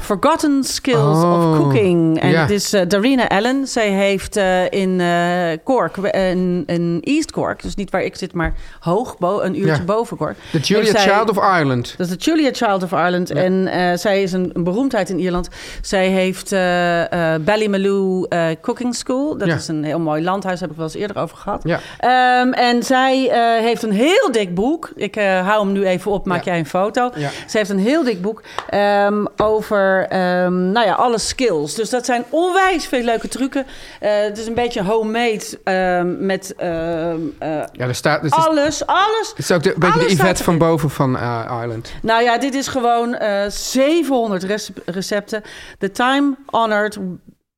Speaker 3: Forgotten Skills
Speaker 2: Oh,
Speaker 3: of Cooking. En
Speaker 2: ja.
Speaker 3: het is eh, Darina Allen. Zij heeft eh, in eh Cork, eh, in, in East Cork, dus niet waar ik zit, maar hoog, bo- een uurtje
Speaker 2: Ja.
Speaker 3: boven Cork.
Speaker 2: The Julia
Speaker 3: Heeft Dus zij-
Speaker 2: Child of Ireland.
Speaker 3: Dat is de Julia Child of Ireland. En eh, zij is een, een beroemdheid in Ierland. Zij heeft eh eh Ballymaloo eh, Cooking School. Dat
Speaker 2: Ja.
Speaker 3: is een heel mooi landhuis, heb ik wel eens eerder over gehad.
Speaker 2: Ja.
Speaker 3: Ehm, en zij eh, heeft een heel dik boek. Ik eh, hou hem nu even op, maak
Speaker 2: Ja.
Speaker 3: jij een foto.
Speaker 2: Ja.
Speaker 3: Ze heeft een heel dik boek ehm, over ehm, nou ja, alle skills. Dus dat zijn onwijs veel leuke trucken. Eh, het is een beetje homemade ehm, met ehm, eh,
Speaker 2: Ja, daar staat. Het is,
Speaker 3: alles, alles.
Speaker 2: het is ook de, een beetje de
Speaker 3: alles staat
Speaker 2: Yvette van
Speaker 3: erin.
Speaker 2: boven van eh, Ireland.
Speaker 3: Nou ja, dit is gewoon eh, 700 rece- recepten. The time-honored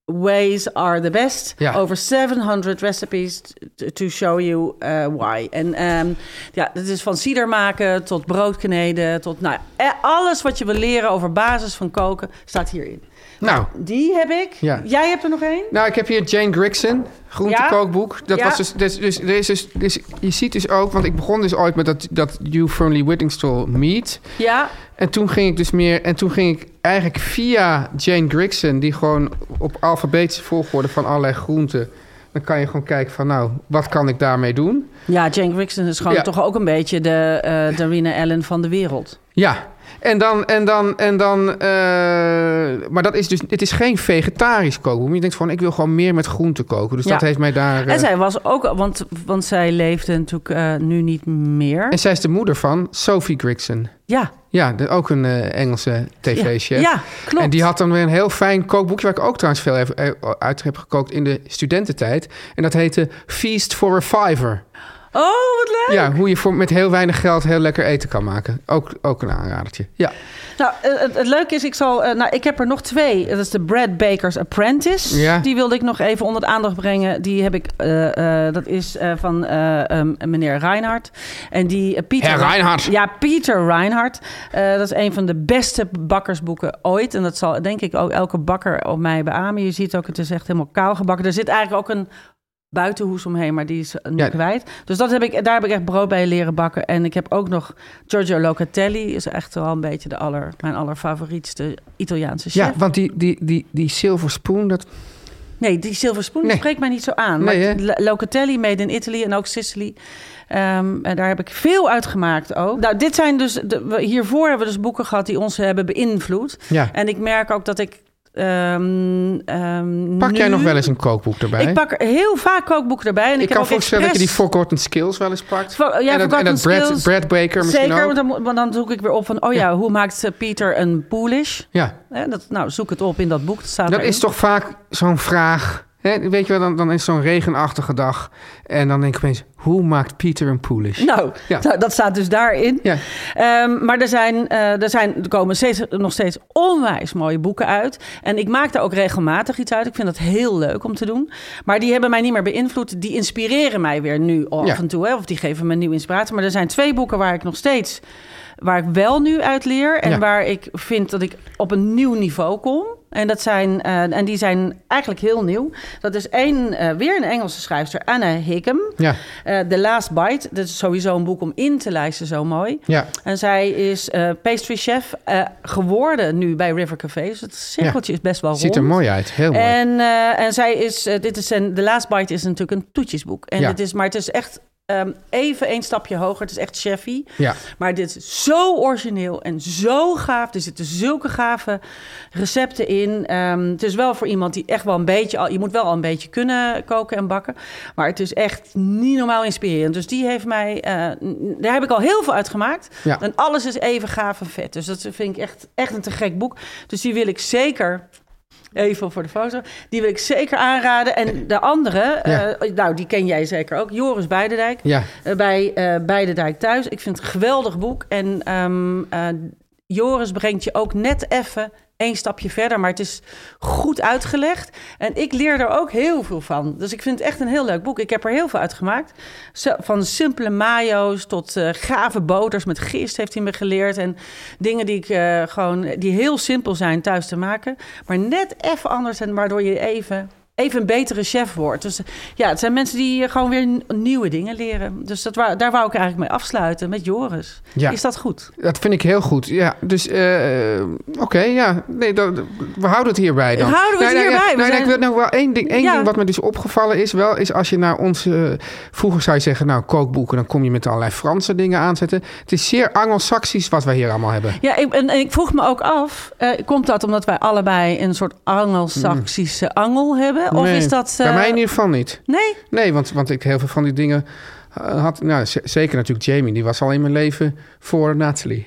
Speaker 3: ways are the best.
Speaker 2: Ja.
Speaker 3: Over 700 recipes t- to show you eh, why. En ehm, ja, dat is van cider maken tot brood kneden, tot nou, ja, eh, alles wat je wil leren over basis van koken staat hierin.
Speaker 2: Nou,
Speaker 3: Die heb ik.
Speaker 2: Ja.
Speaker 3: Jij hebt er nog één?
Speaker 2: Nou, ik heb hier Jane Grigson, groentekookboek. Dat
Speaker 3: Ja.
Speaker 2: was dus, dus, dus, er is dus, dus je ziet dus ook, want ik begon dus ooit met dat, dat You Firmly Whittingstall Meat.
Speaker 3: Ja.
Speaker 2: En toen ging ik dus meer, en toen ging ik eigenlijk via Jane Grigson, die gewoon op alfabetische volgorde van allerlei groenten. Dan kan je gewoon kijken van, nou, wat kan ik daarmee doen?
Speaker 3: Ja, Jane Grigson is gewoon
Speaker 2: Ja.
Speaker 3: toch ook een beetje de eh Darina Allen van de wereld.
Speaker 2: Ja, en dan, en dan, en dan, eh, maar dat is dus, het is geen vegetarisch koken. Je denkt van, ik wil gewoon meer met groenten koken. Dus
Speaker 3: Ja.
Speaker 2: dat heeft mij daar... eh,
Speaker 3: En zij was ook, want, want zij leefde natuurlijk eh, nu niet meer.
Speaker 2: en zij is de moeder van Sophie Grigson.
Speaker 3: Ja,
Speaker 2: Ja, de- ook een eh, Engelse
Speaker 3: ja,
Speaker 2: tv-chef.
Speaker 3: ja, klopt.
Speaker 2: En die had dan weer een heel fijn kookboekje... waar ik ook trouwens veel heb- eh, uit heb gekookt in de studententijd. En dat heette Feast for a Fiver.
Speaker 3: Oh, wat leuk.
Speaker 2: Ja, hoe je voor, met heel weinig geld heel lekker eten kan maken. Ook, ook een aanradertje. Ja.
Speaker 3: Nou, eh, het, het leuke is, ik, zal, eh, nou, ik heb er nog twee. Dat is de Brad Baker's Apprentice.
Speaker 2: Ja.
Speaker 3: Die wilde ik nog even onder de aandacht brengen. Die heb ik, eh, eh, dat is eh, van eh, eh, meneer Reinhardt. En die eh, Pieter...
Speaker 2: Herr Reinhardt.
Speaker 3: Ja, Pieter Reinhardt. Eh, dat is een van de beste bakkersboeken ooit. En dat zal denk ik ook elke bakker op mij beamen. Je ziet ook, het is echt helemaal kaal gebakken. Er zit eigenlijk ook een buitenhoes omheen, maar die is nu
Speaker 2: Ja.
Speaker 3: kwijt. Dus dat heb ik, daar heb ik echt brood bij leren bakken. En ik heb ook nog Giorgio Locatelli, is echt wel een beetje de aller, mijn allerfavorietste Italiaanse chef.
Speaker 2: Ja, want die, die, die, die Silver Spoon, dat...
Speaker 3: Nee, die zilver spoen die
Speaker 2: Nee.
Speaker 3: spreekt mij niet zo aan.
Speaker 2: Nee,
Speaker 3: maar
Speaker 2: hè?
Speaker 3: Lo- Locatelli, Made in Italy en ook Sicily. Ehm, en daar heb ik veel uit gemaakt ook. Nou, dit zijn dus... De, we- hiervoor hebben we dus boeken gehad die ons hebben beïnvloed.
Speaker 2: Ja.
Speaker 3: En ik merk ook dat ik... ehm, ehm,
Speaker 2: Pak jij
Speaker 3: nu-
Speaker 2: nog wel eens een kookboek erbij?
Speaker 3: Ik pak heel vaak kookboeken erbij. En ik,
Speaker 2: Ik
Speaker 3: heb
Speaker 2: kan
Speaker 3: ook
Speaker 2: voorstellen dat je die
Speaker 3: expres-
Speaker 2: Forgotten Skills wel eens pakt.
Speaker 3: Voor- ja,
Speaker 2: en dat, en
Speaker 3: Forgotten
Speaker 2: dat Brad,
Speaker 3: Skills.
Speaker 2: Brad Baker misschien
Speaker 3: Zeker,
Speaker 2: ook.
Speaker 3: want dan, moet- want dan zoek ik weer op van... Oh ja, hoe maakt eh, Pieter een poolish?
Speaker 2: Ja,
Speaker 3: Hè, dat, nou, zoek het op in dat boek. Dat, staat
Speaker 2: Dat
Speaker 3: erin.
Speaker 2: is toch vaak zo'n vraag. Hè? Weet je wel, dan, dan is zo'n regenachtige dag. En dan denk ik opeens, hoe maakt Pieter een poelish?
Speaker 3: Nou,
Speaker 2: Ja.
Speaker 3: nou, dat staat dus daarin.
Speaker 2: Ja.
Speaker 3: Ehm, maar er, zijn, eh, er, zijn, er komen steeds, nog steeds onwijs mooie boeken uit. En ik maak daar ook regelmatig iets uit. Ik vind dat heel leuk om te doen. Maar die hebben mij niet meer beïnvloed. Die inspireren mij weer nu af
Speaker 2: Ja.
Speaker 3: en toe. Hè? Of die geven me nieuwe inspiratie. Maar er zijn twee boeken waar ik nog steeds... waar ik wel nu uit leer. En
Speaker 2: Ja.
Speaker 3: waar ik vind dat ik op een nieuw niveau kom. En, dat zijn, eh, en die zijn eigenlijk heel nieuw. Dat is één, eh, weer een Engelse schrijfster, Anna Hickam.
Speaker 2: Ja,
Speaker 3: Eh, The Last Bite, dat is sowieso een boek om in te lijsten, zo mooi.
Speaker 2: ja.
Speaker 3: En zij is eh pastry chef eh, geworden nu bij River Café. Dus het cirkeltje is best wel rond.
Speaker 2: Ziet er mooi uit, heel mooi.
Speaker 3: En, eh, en zij is, eh, dit is een, The Last Bite is natuurlijk een toetjesboek. En
Speaker 2: Ja.
Speaker 3: dit is, maar het is echt ehm, even één stapje hoger. Het is echt chefy.
Speaker 2: ja.
Speaker 3: Maar dit is zo origineel en zo gaaf. Er zitten zulke gave recepten in. Ehm, het is wel voor iemand die echt wel een beetje... al- Je moet wel al een beetje kunnen koken en bakken. Maar het is echt niet normaal inspirerend. Dus die heeft mij... eh, n- daar heb ik al heel veel uit gemaakt.
Speaker 2: Ja.
Speaker 3: En alles is even gaaf en vet. Dus dat vind ik echt, echt een te gek boek. Dus die wil ik zeker... Even voor de foto. Die wil ik zeker aanraden. En de andere,
Speaker 2: Ja.
Speaker 3: eh, nou, die ken jij zeker ook. Joris Beidendijk.
Speaker 2: Ja.
Speaker 3: Eh, bij, eh bij de Dijk Thuis. Ik vind het een geweldig boek. En ehm, eh, Joris brengt je ook net even één stapje verder. Maar het is goed uitgelegd. En ik leer er ook heel veel van. Dus ik vind het echt een heel leuk boek. Ik heb er heel veel uit gemaakt. Zo- Van simpele mayo's tot eh, gave boters met gist heeft hij me geleerd. En dingen die ik eh, gewoon, die heel simpel zijn thuis te maken. Maar net even anders en waardoor je even even een betere chef wordt. Dus ja, het zijn mensen die eh, gewoon weer n- nieuwe dingen leren. Dus dat wou, daar wou ik eigenlijk mee afsluiten met Joris.
Speaker 2: Ja.
Speaker 3: Is dat goed?
Speaker 2: Dat vind ik heel goed. Ja, dus eh, oké, ja. Nee, dat, we houden het hierbij dan.
Speaker 3: We houden het
Speaker 2: Nee, nee,
Speaker 3: hierbij.
Speaker 2: nee,
Speaker 3: We
Speaker 2: nee,
Speaker 3: zijn-
Speaker 2: Ik wil nou wel één ding, één
Speaker 3: Ja.
Speaker 2: ding wat me dus opgevallen is wel, is als je naar onze... eh, vroeger zou je zeggen, nou, kookboeken, dan kom je met allerlei Franse dingen aanzetten. Het is zeer anglo-saxisch wat wij hier allemaal hebben.
Speaker 3: Ja, ik, en, en ik vroeg me ook af, eh, komt dat omdat wij allebei een soort Anglo-Saxische angel hebben? Of
Speaker 2: Mm. Nee,
Speaker 3: is dat... eh,
Speaker 2: Bij mij in ieder geval niet.
Speaker 3: Nee?
Speaker 2: Nee, want, want ik heel veel van die dingen eh, had. Nou, z- zeker natuurlijk Jamie, die was al in mijn leven voor Natalie.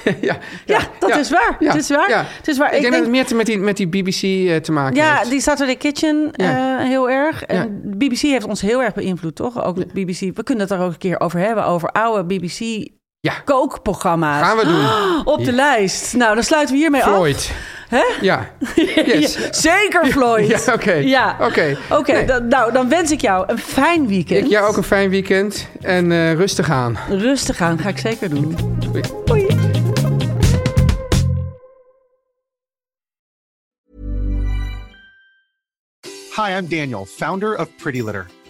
Speaker 2: ja,
Speaker 3: Ja, dat
Speaker 2: ja,
Speaker 3: is waar.
Speaker 2: ja,
Speaker 3: het is waar.
Speaker 2: ja.
Speaker 3: Het is waar.
Speaker 2: ik, denk dat het meer te- met die, met die BBC eh, te maken
Speaker 3: Ja,
Speaker 2: heeft.
Speaker 3: die Saturday Kitchen
Speaker 2: Ja.
Speaker 3: eh, heel erg. En BBC heeft ons heel erg beïnvloed, toch? Ook BBC. We kunnen het er ook een keer over hebben, over oude BBC
Speaker 2: Ja.
Speaker 3: kookprogramma's.
Speaker 2: Gaan we doen.
Speaker 3: Oh. Op de lijst. Nou, dan sluiten we hiermee af.
Speaker 2: Freud. Ja. Yes.
Speaker 3: Zeker, Floyd.
Speaker 2: Ja, oké.
Speaker 3: Ja.
Speaker 2: Oké.
Speaker 3: Oké,
Speaker 2: Nee.
Speaker 3: dan- nou, dan wens ik jou een fijn weekend.
Speaker 2: Ik jou ook een fijn weekend en eh, rustig aan.
Speaker 3: Rustig aan, ga ik zeker doen.
Speaker 2: Doei.
Speaker 4: Hi, I'm Daniel, founder of Pretty Litter.